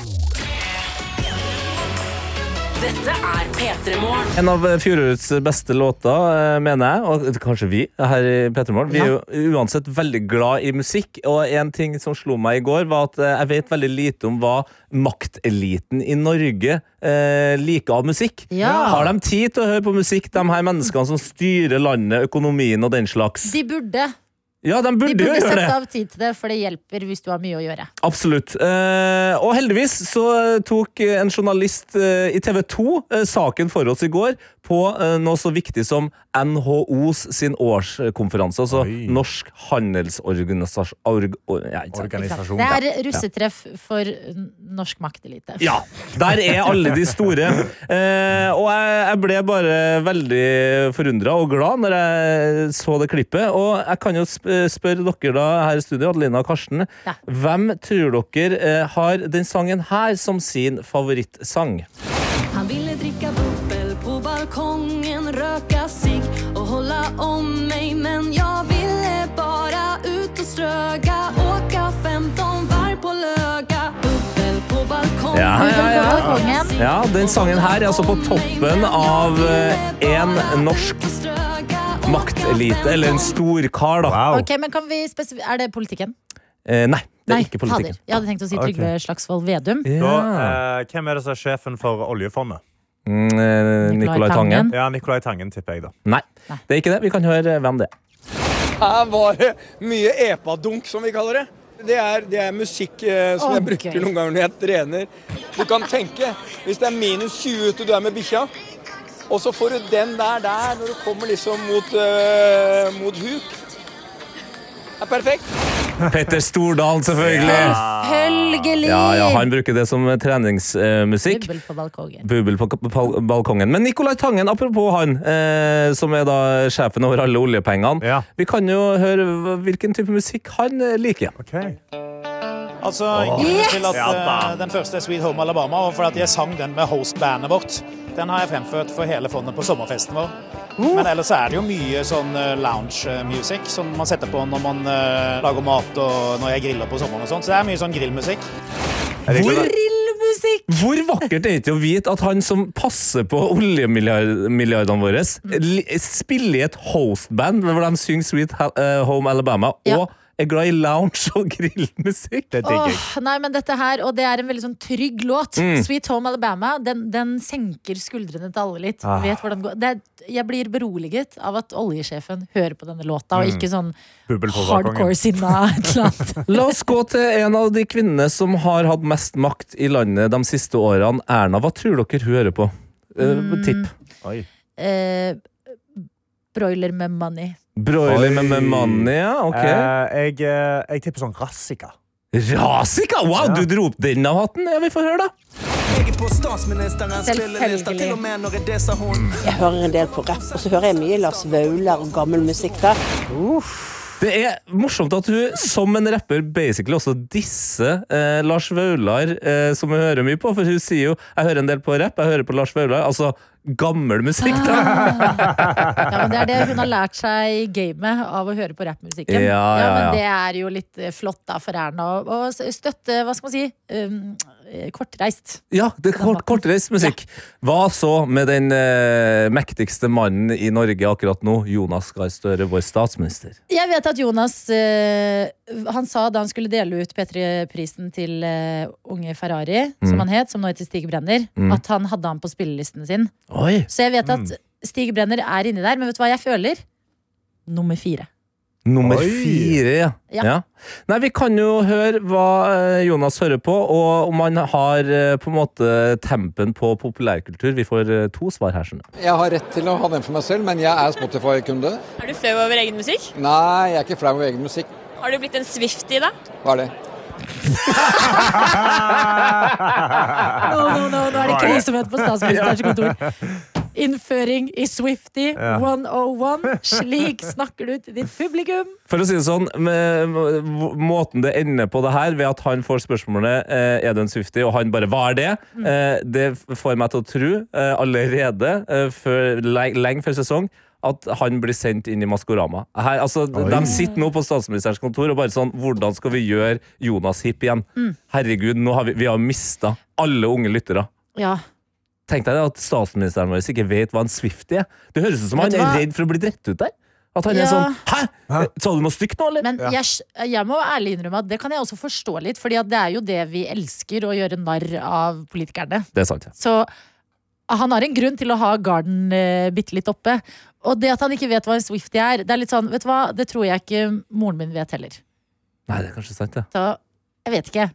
Speaker 5: Dette er P3 Morgen.
Speaker 3: En av fjorårets beste låter, eh, mener jeg, og kanskje vi her i Petermorgen. Vi er jo uansett veldig glad i musikk, og en ting som slo meg i går, var at eh, jeg vet veldig lite om hva makteliten i Norge eh, liker av musikk.
Speaker 2: Ja.
Speaker 3: Har de tid til å høre på musikk, de her menneskene som styrer landet, økonomien og den slags?
Speaker 2: De burde,
Speaker 3: Ja, de
Speaker 2: de
Speaker 3: burde jo
Speaker 2: burde
Speaker 3: gjøre det!
Speaker 2: sette av tid til det, for det hjelper hvis du har mye å gjøre.
Speaker 3: Absolutt. Eh, og heldigvis så eh, tok eh, en journalist eh, i TV 2 eh, saken for oss i går på eh, noe så viktig som NHOs sin årskonferanse, altså
Speaker 4: Oi.
Speaker 3: Norsk handelsorganisasjon... Org, or, ja, ikke sant.
Speaker 4: Organisasjon.
Speaker 2: Det er russetreff for n- norsk maktelite.
Speaker 3: Ja, der er alle de store. Eh, og jeg, jeg ble bare veldig forundra og glad når jeg så det klippet. Og jeg kan jo sp spørre dere da her i studio, Adelina og Karsten.
Speaker 2: Ja.
Speaker 3: Hvem tror dere eh, har den sangen her som sin favorittsang?
Speaker 9: Han ville dricka bubbel på balkongen, röka sig och hålla om mig men jag ville bara ut och ströga, åka 15 varv på löga. Bubbel på balkongen,
Speaker 3: Ja, ja, ja.
Speaker 9: röka
Speaker 2: Balkongen.
Speaker 9: sig
Speaker 3: Ja, den sangen her er altså på toppen av eh, en norsk maktelite, eller en storkar, da.
Speaker 4: Wow.
Speaker 2: Ok, men kan vi spesif Er det politikken?
Speaker 3: Eh, nei, det
Speaker 2: Nei,
Speaker 3: er ikke politikken. Ah,
Speaker 2: fader. Jeg hadde tenkt å si Trygve Slagsvold Vedum.
Speaker 4: Da,
Speaker 3: Ja.
Speaker 4: eh, hvem er det som er sjefen for oljefondet?
Speaker 3: Mm, eh, Nicolai
Speaker 2: Nicolai
Speaker 3: Tangen.
Speaker 2: Tangen.
Speaker 4: Ja, Nicolai Tangen, tipper jeg. da.
Speaker 3: Nei, det er ikke det. Vi kan høre eh, hvem det er.
Speaker 10: Her var det mye epadunk, som vi kaller det. Det er, det er musikk eh, som
Speaker 2: Å,
Speaker 10: jeg bruker
Speaker 2: gøy.
Speaker 10: noen ganger når jeg trener. Du kan tenke, hvis det er minus 20 ute, du er med bikkja, og så får du den der der når du kommer liksom mot, eh, mot huk. Det er perfekt.
Speaker 3: Petter Stordalen, selvfølgelig.
Speaker 2: Følgelig!
Speaker 3: Ja, ja, han bruker det som eh, treningsmusikk.
Speaker 2: Bubbel på balkongen.
Speaker 3: Bubel på k- pal- balkongen. Men Nicolai Tangen, apropos han, eh, som er da sjefen over alle oljepengene.
Speaker 4: Ja.
Speaker 3: Vi kan jo høre hv- hvilken type musikk han eh, liker.
Speaker 4: Ok.
Speaker 11: Altså, grunnen til at
Speaker 4: Ja da.
Speaker 11: eh, den første er Sweet Home Alabama var fordi at jeg sang den med hostbandet vårt. Den har jeg fremført for hele fondet på sommerfesten vår.
Speaker 4: Uh.
Speaker 11: Men ellers er det jo mye sånn eh, lounge eh, music som man setter på når man eh, lager mat og når jeg griller på sommeren og sånn. Så det er mye sånn grillmusikk.
Speaker 4: Er det Nicolai-
Speaker 2: Grillmusikk!
Speaker 3: Hvor vakkert er det ikke å vite at han som passer på oljemilliardene våre, li- spiller i et hostband hvor de synger Sweet Ha- eh, Home Alabama,
Speaker 2: Ja.
Speaker 3: og er glad i lounge og grillmusikk?
Speaker 4: Det digger jeg.
Speaker 2: Åh, nei, men dette her, og det er en veldig sånn trygg låt.
Speaker 3: Mm.
Speaker 2: Sweet Home Alabama. Den, den senker skuldrene til alle litt.
Speaker 3: Ah.
Speaker 2: Vet hvordan det går. Det, er- jeg blir beroliget av at oljesjefen hører på denne låta,
Speaker 3: Mm.
Speaker 2: og ikke sånn
Speaker 4: Bubbel på balkongen.
Speaker 2: hardcore sinna et eller annet.
Speaker 3: La oss gå til en av de kvinnene som har hatt mest makt i landet de siste årene. Erna, hva tror dere hun hører på? Eh, tipp.
Speaker 2: Eh, broiler med money.
Speaker 3: Broiler
Speaker 4: Oi.
Speaker 3: med, med money, ja. Ok.
Speaker 4: Eh, jeg, eh, jeg tipper sånn Rassika.
Speaker 3: Rasika! Wow, du dro opp den av hatten! Ja, vi får høre, da.
Speaker 10: Jeg er på statsministerens
Speaker 2: spilleliste, til og
Speaker 10: med når det sa hun.
Speaker 9: Jeg hører en del på rapp, og så hører jeg mye Lars Vaular og gammel musikk der.
Speaker 3: Det er morsomt at hun som en rapper basically også disser eh, Lars Vaular, eh, som hun hører mye på. For hun sier jo 'jeg hører en del på rapp', 'jeg hører på Lars Vaular'. Altså gammel musikk, da!
Speaker 2: Ja, men Det er det hun har lært seg i gamet av å høre på rappmusikken.
Speaker 3: Ja, ja, ja.
Speaker 2: men det er jo litt eh, flott da for Erna å- å s- støtte, hva skal man si, um, eh, kortreist.
Speaker 3: Ja, det er kort, kortreist musikk. Hva så med den eh, mektigste mannen i Norge akkurat nå, Jonas Gahr Støre, vår statsminister?
Speaker 2: Jeg vet at Jonas eh, Han sa da han skulle dele ut P3-prisen til eh, Unge Ferrari,
Speaker 12: Mm.
Speaker 2: som han het, som nå heter Stig Brenner,
Speaker 12: Mm.
Speaker 2: at han hadde han på spillelisten sin.
Speaker 3: Oi.
Speaker 2: Så jeg vet at
Speaker 12: Mm.
Speaker 2: Stig Brenner er inni der, men vet du hva jeg føler? Nummer fire.
Speaker 3: Nummer
Speaker 2: Oi.
Speaker 3: fire, ja.
Speaker 2: Ja.
Speaker 3: ja. Nei, vi kan jo høre hva eh, Jonas hører på, og om han har eh, på en måte tempen på populærkultur. Vi får eh, to svar her, skjønner du.
Speaker 13: Jeg har rett til å ha den for meg selv, men jeg er Spotify-kunde.
Speaker 14: Er du flau over egen musikk?
Speaker 13: Nei, jeg er ikke flau over egen musikk.
Speaker 14: Har du blitt en Swifty, da?
Speaker 13: Hva er det?
Speaker 2: No, no, no, nå er det krisemøte på statsministerens kontor. Innføring i Swifty
Speaker 3: Ja.
Speaker 2: 101. Slik snakker du til ditt publikum.
Speaker 3: For å si det sånn, med må- måten det ender på det her, ved at han får spørsmålet eh, Er du en Swifty, og han bare Hva er det?
Speaker 2: Mm.
Speaker 3: Eh, Det får meg til å tro, eh, allerede eh, før, lenge, lenge før sesong, at han blir sendt inn i Maskorama. Her, altså, de de sitter nå på statsministerens kontor og bare sånn Hvordan skal vi gjøre Jonas hipp igjen?
Speaker 2: Mm.
Speaker 3: Herregud, nå har vi, vi har mista alle unge lyttere.
Speaker 2: Ja.
Speaker 3: Tenk deg det at statsministeren vår ikke vet hva en Swifty er. Det høres ut som
Speaker 2: Vet
Speaker 3: han
Speaker 2: du
Speaker 3: er
Speaker 2: hva?
Speaker 3: redd for å bli drept ut der. At han
Speaker 2: Ja.
Speaker 3: er sånn Hæ? Sa du noe stygt nå, eller?
Speaker 2: Men jeg, sk- jeg må ærlig innrømme at det kan jeg også forstå litt, Fordi at det er jo det vi elsker å gjøre narr av politikerne.
Speaker 3: Det er sant, ja.
Speaker 2: Så ah, han har en grunn til å ha garden eh, bitte litt oppe. Og det at han ikke vet hva en Swifty er, det er litt sånn, vet du hva, det tror jeg ikke moren min vet heller.
Speaker 3: Nei, det er kanskje sant, ja.
Speaker 2: Så jeg vet ikke.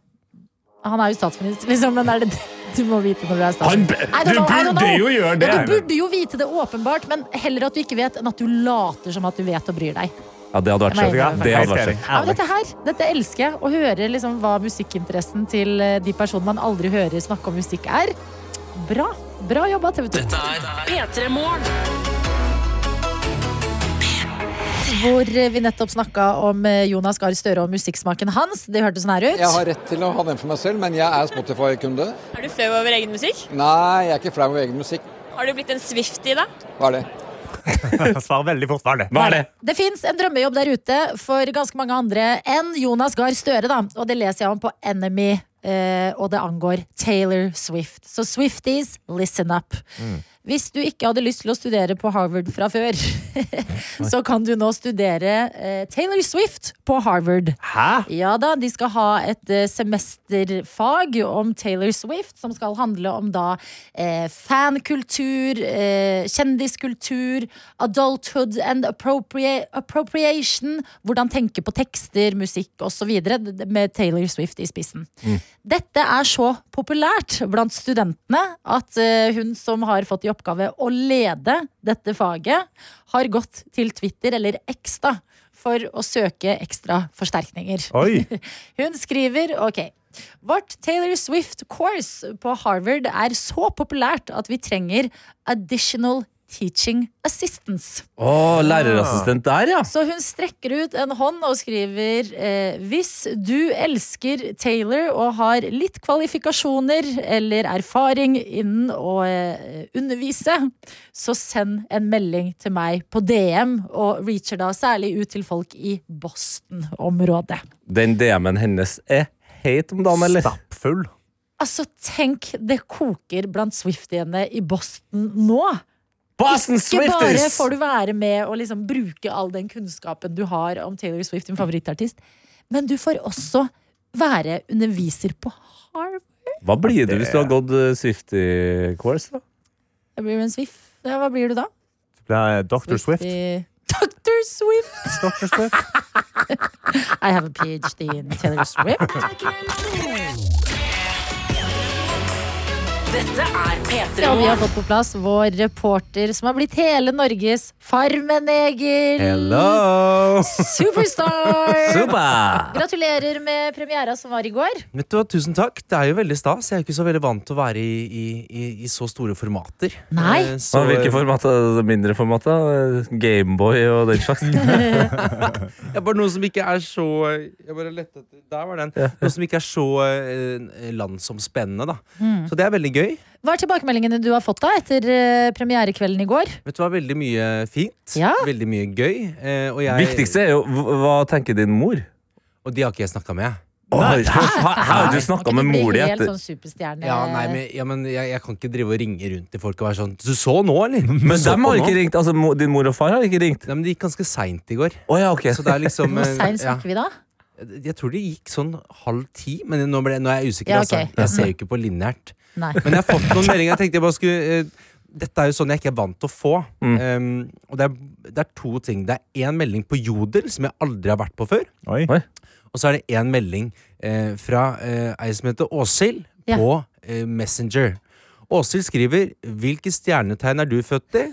Speaker 2: Han er jo statsminister, liksom, men er det det du må vite når du er statsminister?
Speaker 3: Han bur-
Speaker 2: I don't
Speaker 3: du
Speaker 2: know, I don't
Speaker 3: burde
Speaker 2: know.
Speaker 3: jo gjøre det.
Speaker 2: Ja, Du burde jo vite det åpenbart, men heller at du ikke vet, enn at du later som at du vet og bryr deg.
Speaker 3: Ja, det hadde vært
Speaker 2: Jeg
Speaker 3: kjekt.
Speaker 2: mener
Speaker 3: Det hadde
Speaker 2: faktisk.
Speaker 3: vært kjekt.
Speaker 2: Ja, men dette her, dette elsker jeg. Å høre liksom hva musikkinteressen til eh, de personene man aldri hører snakke om musikk, er. Bra. Bra jobba, TV 2.
Speaker 5: P3 Morgen.
Speaker 2: Hvor eh, vi nettopp snakka om eh, Jonas Gahr Støre og musikksmaken hans. Det hørtes sånn her ut.
Speaker 13: Jeg har rett til å ha den for meg selv, men jeg er Spotify-kunde.
Speaker 14: Er du flau over egen musikk?
Speaker 13: Nei, jeg er ikke flau over egen musikk.
Speaker 14: Har du blitt en Swifty, da?
Speaker 13: Hva er det? Svar veldig fort. Hva er det?
Speaker 3: Hva er det?
Speaker 2: Det fins en drømmejobb der ute for ganske mange andre enn Jonas Gahr Støre, da. Og det leser jeg om på Enemy, eh, og det angår Taylor Swift. Så Swifties, listen up. Hvis du ikke hadde lyst til å studere på Harvard fra før, så kan du nå studere eh, Taylor Swift på Harvard.
Speaker 4: Hæ?
Speaker 2: Ja da, De skal ha et eh, semesterfag om Taylor Swift, som skal handle om da eh, fankultur, eh, kjendiskultur, adulthood and appropria appropriation, hvordan tenke på tekster, musikk osv., med Taylor Swift i spissen. Dette er så populært blant studentene at eh, hun som har fått i oppgave å lede dette faget, har gått til Twitter, eller X, da, for å søke ekstra forsterkninger.
Speaker 12: Oi.
Speaker 2: hun skriver OK. Vårt Taylor Swift-course på Harvard er så populært at vi trenger additional teaching assistance.
Speaker 3: Å, lærerassistent der, ja.
Speaker 2: Så hun strekker ut en hånd og skriver eh, Hvis du elsker Taylor og har litt kvalifikasjoner eller erfaring innen å eh, undervise, så send en melding til meg på DM, og reacher da særlig ut til folk i Boston-området.
Speaker 3: Den DM-en hennes er heit om dagen, eller?
Speaker 4: Stappfull.
Speaker 2: Altså, tenk, det koker blant Swiftiene i Boston nå.
Speaker 3: Boston
Speaker 2: Ikke bare
Speaker 3: Swifties!
Speaker 2: får du være med og liksom bruke all den kunnskapen du har om Taylor Swift, din favorittartist, men du får også være underviser på Harvard.
Speaker 3: Hva blir du hvis du har gått eh, Swifty-course, da?
Speaker 2: Da blir du en Swift. Ja, hva blir du da?
Speaker 4: Det er Dr. Swift.
Speaker 2: I- Dr. Swift!
Speaker 4: Dr. Swift.
Speaker 2: I have a PhD in Taylor Swift.
Speaker 5: Dette Dette er P3
Speaker 2: Ja, og vi har
Speaker 5: Morgen.
Speaker 2: fått på plass vår reporter som har blitt hele Norges Farmen-Egil.
Speaker 3: Hello!
Speaker 2: Superstar!
Speaker 4: Super!
Speaker 2: Gratulerer med premiera som var i går.
Speaker 4: Vet du hva, Tusen takk. Det er jo veldig stas. Jeg er ikke så veldig vant til å være i, i, i, i så store formater.
Speaker 2: Nei.
Speaker 4: Eh,
Speaker 3: Så, Hvilke format er det? Mindre format? da? Gameboy og den slags?
Speaker 4: Jeg er bare noe som ikke er så eh, Jeg bare lette etter Der var den.
Speaker 3: Ja.
Speaker 4: Noe som ikke er så eh, landsomspennende, da.
Speaker 2: Mm.
Speaker 4: Så det er veldig gøy.
Speaker 2: Hva er tilbakemeldingene du har fått da etter eh, premierekvelden i går?
Speaker 4: Vet du hva, veldig mye fint. Veldig mye gøy. eh, og jeg
Speaker 3: Viktigste er jo hva hva tenker din mor?
Speaker 4: Og de har ikke jeg snakka med.
Speaker 3: Å, har- har- har du snakka med mor
Speaker 2: Blir
Speaker 3: di
Speaker 2: helt
Speaker 4: etter-
Speaker 2: sånn superstjerne.
Speaker 4: Ja,
Speaker 14: Eh.
Speaker 4: nei, men, ja, men jeg, jeg kan ikke drive og ringe rundt til folk og være sånn Du så nå, eller? Du
Speaker 3: Men
Speaker 4: så
Speaker 3: dem
Speaker 4: på
Speaker 3: har
Speaker 4: nå?»
Speaker 3: ikke ringt? Altså, mo- din mor og far har ikke ringt?
Speaker 4: Nei, men det gikk ganske seint i går.
Speaker 3: Oh, ja, ok.
Speaker 4: Så det er liksom
Speaker 2: Hvor
Speaker 4: eh,
Speaker 2: seint
Speaker 4: ja.
Speaker 2: snakker vi da?
Speaker 4: Jeg tror det gikk sånn halv ti, men nå, ble, nå er jeg usikker.
Speaker 2: Ja, ok. Mm,
Speaker 4: altså. Jeg ser jo ikke på lineært.
Speaker 2: Nei.
Speaker 4: Men jeg har fått noen meldinger. Jeg tenkte jeg bare skulle eh, Dette er jo sånn jeg ikke er vant til å få.
Speaker 3: Mm.
Speaker 4: Um, og det er, det er to ting. Det er én melding på Jodel som jeg aldri har vært på før. Og så er det én melding eh, fra eh, ei som heter Åshild,
Speaker 2: Ja.
Speaker 4: på eh, Messenger. Åshild skriver 'Hvilket stjernetegn er du født i?'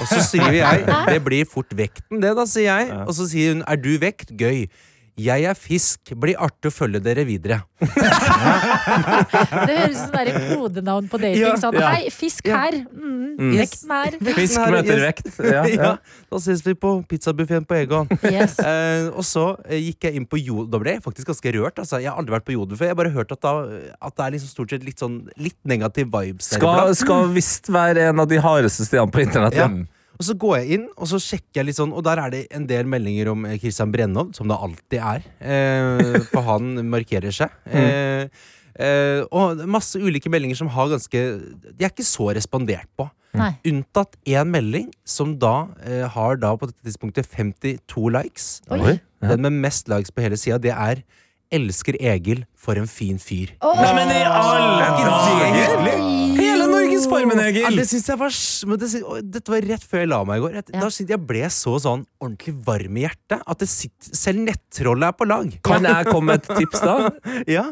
Speaker 4: Og så skriver jeg 'Det blir fort vekten', det, da, sier jeg. Og så sier hun 'Er du vekt? Gøy'. Jeg er fisk. Blir artig å følge dere videre.
Speaker 2: Det høres ut som det er et kodenavn på dating.
Speaker 4: Ja,
Speaker 2: sånn,
Speaker 4: ja.
Speaker 2: Hei, fisk her. Mm,
Speaker 4: Mm.
Speaker 2: Vekten her.
Speaker 3: Fisk møter vekt. Ja,
Speaker 4: Ja,
Speaker 3: ja.
Speaker 4: Da ses vi på pizzabuffeen på Egon.
Speaker 2: Yes.
Speaker 4: Eh, og så eh, gikk jeg inn på Jodel. Da ble jeg faktisk ganske rørt. Altså. Jeg har aldri vært på Jodel før. Jeg har bare hørt at, da, at det er liksom stort sett litt, sånn, litt negativ vibes der
Speaker 3: Skal,
Speaker 4: iblant.
Speaker 3: skal visst være en av de hardeste stedene på internett.
Speaker 4: Ja. Og så går jeg inn, og så sjekker jeg litt sånn, og der er det en del meldinger om eh, Christian Brennov, som det alltid er. Eh, for han markerer seg. Eh, eh, og masse ulike meldinger som har ganske De er ikke så respondert på.
Speaker 2: Nei.
Speaker 4: Unntatt én melding, som da eh, har da på dette tidspunktet 52 likes.
Speaker 2: Oi.
Speaker 4: Den med mest likes på hele sida, det er 'Elsker Egil, for en fin fyr'.
Speaker 3: Nei, men i alle dager! Hele Norges Farmen-Egil!
Speaker 4: Ja, det synes jeg var s- men det synes, og Dette var rett før jeg la meg i går. Jeg, Da synes jeg ble så sånn ordentlig varm i hjertet at det sitter, selv nettrollet er på lag.
Speaker 3: Kan jeg komme med et tips, da?
Speaker 4: ja.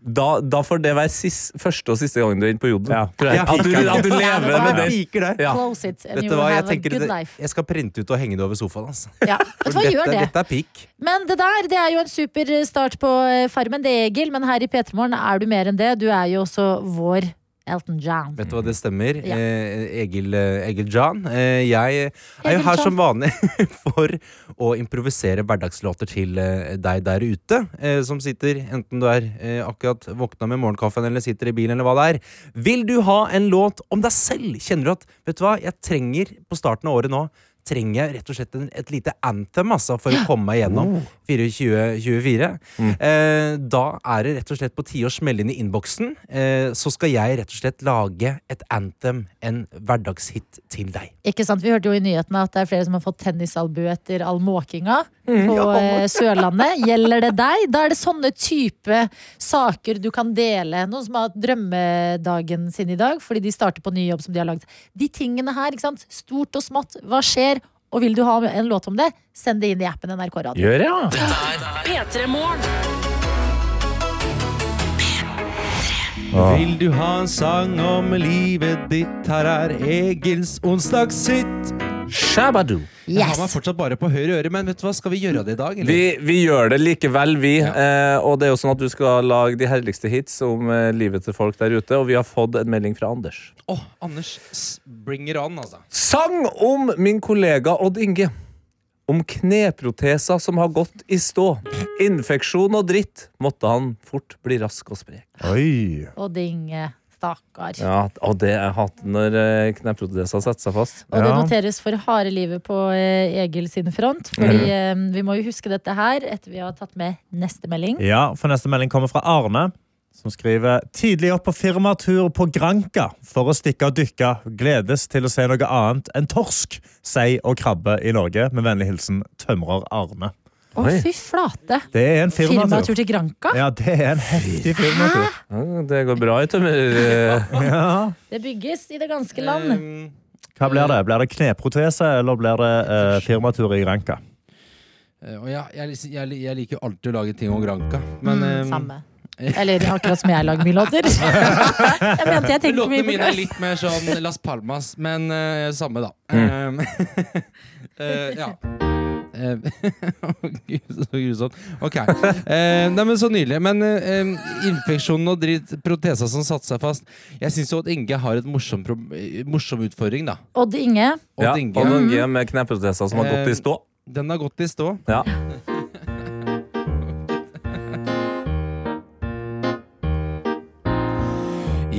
Speaker 3: Da, da får det være sis- første og siste gangen du er inne på Jodel. tror jeg.
Speaker 4: Ja.
Speaker 3: At, du, at du
Speaker 4: Ja,
Speaker 3: lever med
Speaker 4: Jeg
Speaker 3: den.
Speaker 4: liker det.
Speaker 3: Ja.
Speaker 2: Close it, and
Speaker 4: Vet
Speaker 2: you
Speaker 4: du
Speaker 2: will
Speaker 4: hva, jeg
Speaker 2: have a
Speaker 4: tenker
Speaker 2: good
Speaker 4: det,
Speaker 2: life.
Speaker 4: jeg skal printe ut og henge det over sofaen. Altså.
Speaker 2: Ja. Vet du hva,
Speaker 4: dette,
Speaker 2: gjør det.
Speaker 4: dette er peak.
Speaker 2: Men det der det er jo en super start på eh, Farmen, det, Egil. Men her i P3 Morgen er du mer enn det. Du er jo også vår Elton John.
Speaker 4: Vet du hva, det stemmer.
Speaker 2: Ja.
Speaker 4: Eh, Egil, eh, Egil Jan. Eh, jeg er jo
Speaker 2: Egil
Speaker 4: her
Speaker 2: Jan.
Speaker 4: som vanlig for å improvisere hverdagslåter til eh, deg der ute. Eh, som sitter, enten du er eh, akkurat våkna med morgenkaffen eller sitter i bilen eller hva det er. Vil du ha en låt om deg selv? Kjenner du at Vet du hva, jeg trenger på starten av året nå Trenger jeg rett og slett en, et lite anthem altså, for å komme meg gjennom 24-24. Eh, da er det rett og slett på tide å smelle inn i innboksen. Eh, så skal jeg rett og slett lage et anthem, en hverdagshit, til deg.
Speaker 2: Ikke sant? Vi hørte jo i nyhetene at det er flere som har fått tennisalbue etter all måkinga
Speaker 4: Mm.
Speaker 2: på
Speaker 4: Ja.
Speaker 2: eh, Sørlandet. Gjelder det deg? Da er det sånne type saker du kan dele. Noen som har hatt drømmedagen sin i dag fordi de starter på ny jobb som de har lagd. De tingene her, ikke sant? stort og smått, hva skjer? Og vil du ha en låt om det, send det inn i appen NRK Radio.
Speaker 3: Gjør det, ja.
Speaker 5: P3 Morgen.
Speaker 4: Vil du ha en sang om livet ditt? Her er Egils onsdagshit.
Speaker 3: Shabadoo.
Speaker 4: Jeg har meg fortsatt bare på høyre øre, men vet du hva, skal vi gjøre det i dag? eller?
Speaker 3: Vi, vi gjør det likevel, vi. Eh, og det er jo sånn at du skal lage de herligste hits om eh, livet til folk der ute. Og vi har fått en melding fra Anders.
Speaker 4: Åh, Anders, s- bring it on, altså.
Speaker 3: Sang om min kollega Odd Inge. Om kneproteser som har gått i stå. Infeksjon og dritt. Måtte han fort bli rask og sprek.
Speaker 2: Og Dinge, stakkar.
Speaker 3: Ja, og det er hatt når eh, kneproteser setter seg fast.
Speaker 2: Og det noteres for harde livet på eh, Egil sin front.
Speaker 4: Mm.
Speaker 2: Fordi eh, vi må jo huske dette her etter vi har tatt med neste melding.
Speaker 8: Ja, for neste melding kommer fra Arne, som skriver tidlig opp på firmatur på Granka for å stikke og dykke. Gledes til å se noe annet enn torsk, sei og krabbe i Norge. Med vennlig hilsen tømrer Arne.
Speaker 2: Å, fy flate!
Speaker 8: Det er en
Speaker 2: Firmatur
Speaker 8: firmatur.
Speaker 2: til Granka?
Speaker 8: Ja, det er en heftig firmatur.
Speaker 3: Ja, Det går bra i tømmer...
Speaker 8: Ja.
Speaker 2: Det bygges i det ganske land.
Speaker 15: Eh,
Speaker 8: Hva blir det? Blir det kneprotese, eller blir det eh, firmatur i Granka?
Speaker 4: Eh, Og jeg, jeg, lis- jeg, li- jeg liker jo alltid å lage ting om Granka. Men,
Speaker 2: Mm,
Speaker 15: ehm,
Speaker 4: eh,
Speaker 2: samme. Eller akkurat som jeg lager mye låter. jeg mente jeg tenkte mye
Speaker 15: Låtene
Speaker 2: på
Speaker 15: mine er
Speaker 2: det.
Speaker 15: litt mer sånn Las Palmas, men eh, samme, da.
Speaker 3: Mm.
Speaker 15: Eh, eh, ja. Eh, Gud, så grusomt. Ok. Eh, nei, men Så nydelig. Men eh, eh, infeksjonen og dritt, proteser som satte seg fast Jeg syns jo at Inge har et morsom, prob- eh, morsom utfordring, da.
Speaker 2: Odd Inge.
Speaker 3: Ja,
Speaker 15: Odd Inge.
Speaker 3: og noen G med kneproteser som har gått i stå.
Speaker 15: Eh, Den har gått i stå.
Speaker 3: Ja.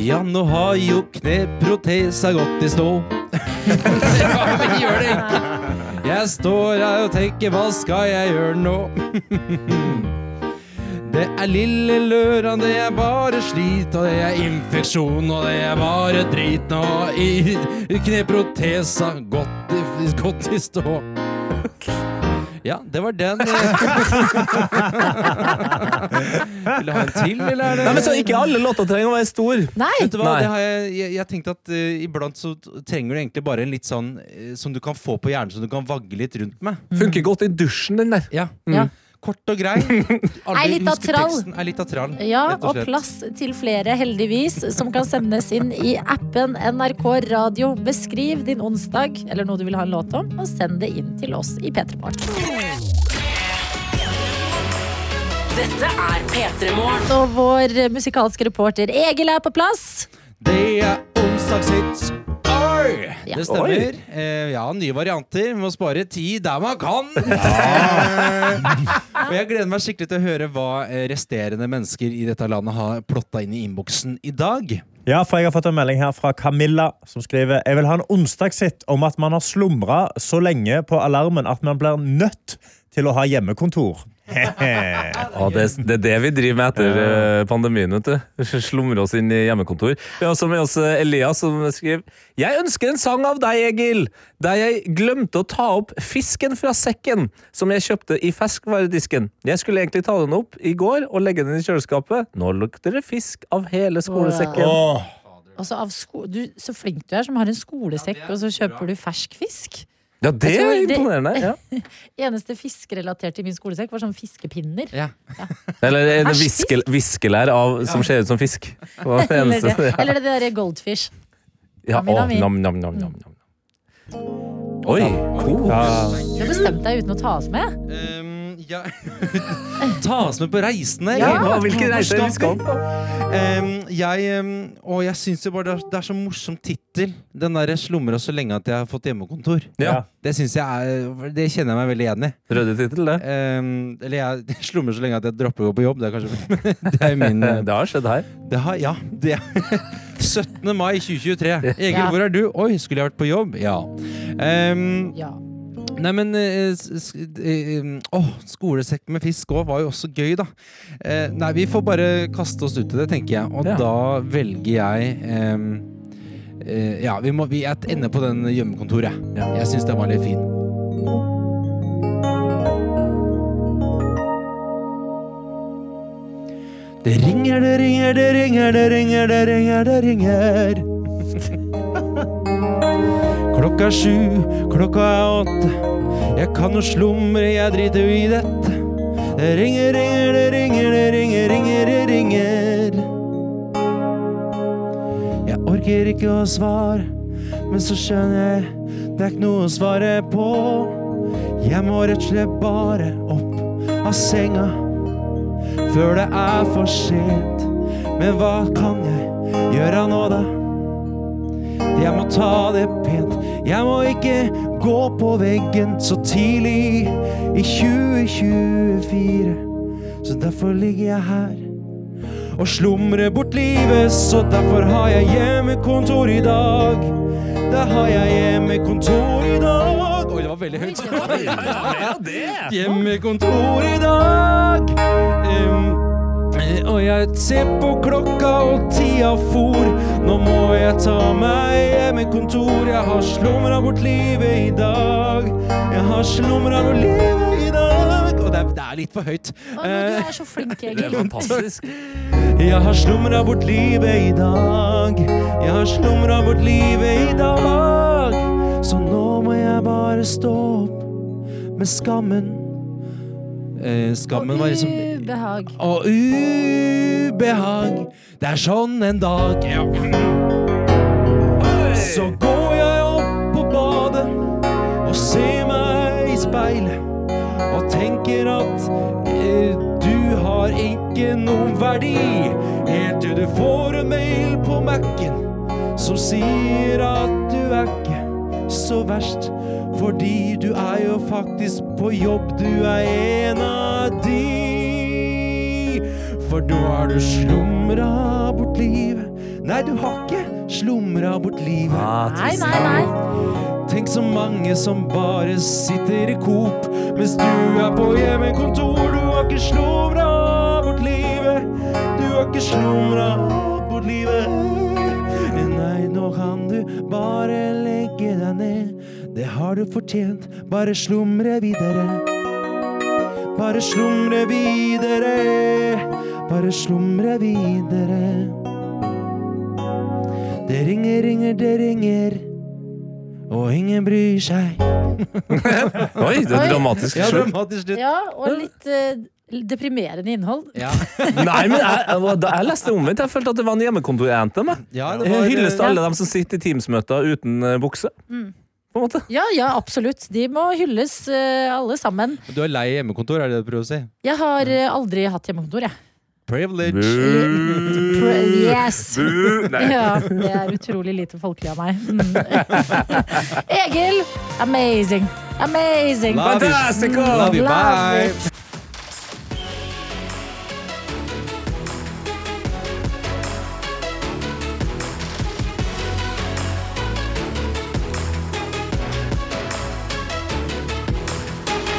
Speaker 15: Ja, nå har jo kneprotesa gått i stå. Jeg står her og tenker, hva skal jeg gjøre nå? Det er lille lørdag, det er bare slit, og det er infeksjon, og det er bare drit nå. I kneprotesa gått i, gått i stå. Ja, det var den. eh, Vil du ha en til, eller er det
Speaker 3: Nei, men så Ikke alle låter trenger å være stor.
Speaker 15: Vet du hva?
Speaker 3: Nei.
Speaker 15: Det har jeg, jeg, jeg tenkte at eh, iblant så t- trenger du egentlig bare en litt sånn eh, som du kan få på hjernen, som du kan vagge litt rundt med.
Speaker 3: Funker godt i dusjen, den der.
Speaker 15: Ja.
Speaker 2: Ja.
Speaker 15: Kort og grei. Aldri
Speaker 2: Er litt av
Speaker 15: husker
Speaker 2: trall.
Speaker 15: teksten, Er litt av trall.
Speaker 2: Ja,
Speaker 15: rett
Speaker 2: og
Speaker 15: slett.
Speaker 2: plass til flere, heldigvis, som kan sendes inn i appen NRK Radio. Beskriv din onsdag eller noe du vil ha en låt om, og send det inn til oss i P3 Morgen.
Speaker 5: Dette er P3 Morgen.
Speaker 2: Og vår musikalske reporter Egil er på plass.
Speaker 15: Det er onsdagshits. Oi!
Speaker 2: Ja.
Speaker 15: Det stemmer.
Speaker 2: Oi.
Speaker 15: Eh, ja, nye varianter. Må spare tid der man kan. Eh, og jeg gleder meg skikkelig til å høre hva eh, resterende mennesker i dette landet har plotta inn i innboksen i dag.
Speaker 4: Ja, for jeg har fått en melding her fra Camilla, som skriver Jeg vil ha en onsdagshit om at man har slumra så lenge på alarmen at man blir nødt til å ha hjemmekontor.
Speaker 3: Ja, det, er- det er det vi driver med etter eh, pandemien. vet du. Slumrer oss inn i hjemmekontor. Vi har også med oss eh, Elias, som skriver Jeg ønsker en sang av deg, Egil, der jeg glemte å ta opp fisken fra sekken som jeg kjøpte i ferskvaredisken. Jeg skulle egentlig ta den opp i går og legge den i kjøleskapet. Nå lukter det fisk av hele skolesekken.
Speaker 4: Oh.
Speaker 2: Åh. Altså av sko du, så flink du er som har en skolesekk, og så kjøper du fersk fisk.
Speaker 3: Ja, det
Speaker 2: Jeg
Speaker 3: er
Speaker 2: tror det-
Speaker 3: imponerende. Ja.
Speaker 2: Eneste fiskerelatert i min skolesekk var sånn fiskepinner.
Speaker 15: Ja.
Speaker 3: Eller en
Speaker 2: Fersk
Speaker 3: viskel, viskelær av, som ser ut som fisk. Det var det
Speaker 2: Eller,
Speaker 3: eneste.
Speaker 2: det, eller det derre goldfish.
Speaker 3: Ja,
Speaker 2: Nami,
Speaker 3: å,
Speaker 2: nami.
Speaker 3: nam, nam, nam, nam, nam. Oi, kos.
Speaker 2: Du har bestemt deg uten å ta oss med.
Speaker 15: Ehm, Ta oss med på reisene.
Speaker 2: Ja.
Speaker 15: Egil.
Speaker 2: Hva- hvilke reiser
Speaker 15: Hvor
Speaker 2: vi skal
Speaker 15: vi? Ehm, jeg um, og jeg syns jo bare det er, det er så morsom tittel. Den derre 'slumra så lenge at jeg har fått hjemmekontor'.
Speaker 3: Ja.
Speaker 15: Det synes jeg er, det kjenner jeg meg veldig igjen i. Ehm,
Speaker 3: Røde tittel, det.
Speaker 15: eller jeg slumrer så lenge at jeg dropper å gå på jobb. Det er kanskje det er min
Speaker 2: Eh,
Speaker 3: Det har skjedd her.
Speaker 15: Det har, ja. Det, 17. mai 2023. Egil,
Speaker 2: Ja.
Speaker 15: hvor er du? Oi, skulle jeg vært på jobb? Ja. Ehm,
Speaker 2: Ja.
Speaker 15: Nei, men eh, s- s- eh, åh, skolesekk med fisk òg var jo også gøy, da. Eh, nei, vi får bare kaste oss ut i det, tenker jeg. Og
Speaker 3: Ja.
Speaker 15: da velger jeg eh, eh, Ja, vi, må, vi jeg ender på den hjemmekontoret. Jeg syns den var litt fin. Det ringer, det ringer, det ringer, det ringer, det ringer, det ringer. Klokka er sju, klokka er åtte. Jeg kan jo slumre, jeg driter jo i dette. Det ringer, ringer, det ringer, det ringer, ringer, det ringer. Jeg orker ikke å svare, men så skjønner jeg det er ikke noe å svare på. Jeg må rett og slett bare opp av senga før det er for sent. Men hva kan jeg gjøre nå, da? Jeg må ta det pent. Jeg må ikke gå på veggen så tidlig i 2024. Så derfor ligger jeg her og slumrer bort livet. Så derfor har jeg hjemmekontor i dag. Da har jeg hjemmekontor i dag. Oi, det var veldig høyt. Hjemmekontor i dag. Em, Eh, Og jeg ser på klokka og tida for Nå må jeg ta meg hjemmekontor Jeg har slumra bort livet i dag Jeg har slumra bort livet i dag Og det er, det er litt for høyt
Speaker 2: Å, men du
Speaker 15: Eh,
Speaker 2: er så flink, Egil.
Speaker 15: Det er fantastisk. Jeg har slumra bort livet i dag Jeg har slumra bort livet i dag Så nå må jeg bare stå opp Med skammen eh, Skammen var liksom
Speaker 2: ubehag.
Speaker 15: og ubehag. Det er sånn en dag. Så går jeg opp på badet og ser meg i speilet og tenker at eh, du har ikke noen verdi helt til du får en mail på Mac-en som sier at du er ikke så verst, fordi du er jo faktisk på jobb, du er en av de. For nå har du slumra bort livet. Nei, du har ikke slumra bort livet.
Speaker 2: Nei, nei,
Speaker 15: nei. Tenk så mange som bare sitter i Coop mens du er på hjemmekontor. Du har ikke slumra bort livet. Du har ikke slumra bort livet. Nei, nå kan du bare legge deg ned. Det har du fortjent. Bare slumre videre. Bare slumre videre. Bare slumre videre. Det ringer, ringer, det ringer. Og ingen bryr seg.
Speaker 3: Oi, det er Oi. dramatisk
Speaker 15: ja,
Speaker 3: slutt.
Speaker 15: dramatisk slutt.
Speaker 2: Ja, og litt eh, deprimerende innhold.
Speaker 3: Nei, men jeg, jeg, da- jeg leste omvendt. Jeg følte at det var en hjemmekontor-anthem.
Speaker 15: Ja, det
Speaker 12: eh,
Speaker 15: var-
Speaker 3: Hylles til alle
Speaker 2: Ja.
Speaker 3: dem som sitter i Teams-møter uten eh, bukse.
Speaker 2: Mm.
Speaker 3: På en måte.
Speaker 2: Ja, ja, absolutt. De må hylles, eh, alle sammen.
Speaker 12: Du er lei hjemmekontor, er det det du prøver å si?
Speaker 2: Jeg har eh, aldri hatt hjemmekontor, jeg.
Speaker 12: Privilege.
Speaker 2: Pre- Yes!
Speaker 12: Boo. Nei.
Speaker 2: Ja, det er utrolig lite folkelig av meg. Mm. Egil! Amazing! Amazing!
Speaker 15: Love you.
Speaker 2: Fantastical!
Speaker 15: Love you. Bye.
Speaker 2: it.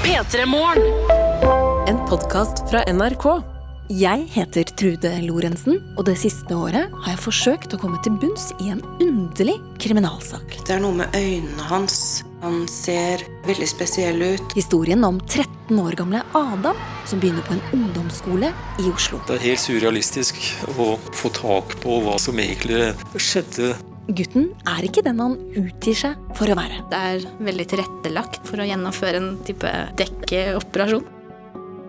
Speaker 5: P3 Morgen. En podkast fra NRK.
Speaker 16: Jeg heter Trude Lorentzen, og det siste året har jeg forsøkt å komme til bunns i en underlig kriminalsak.
Speaker 17: Det er noe med øynene hans. Han ser veldig spesiell ut.
Speaker 16: Historien om 13 år gamle Adam som begynner på en ungdomsskole i Oslo.
Speaker 18: Det er helt surrealistisk å få tak på hva som egentlig skjedde.
Speaker 16: Gutten er ikke den han utgir seg for å være.
Speaker 19: Det er veldig tilrettelagt for å gjennomføre en type dekkeoperasjon.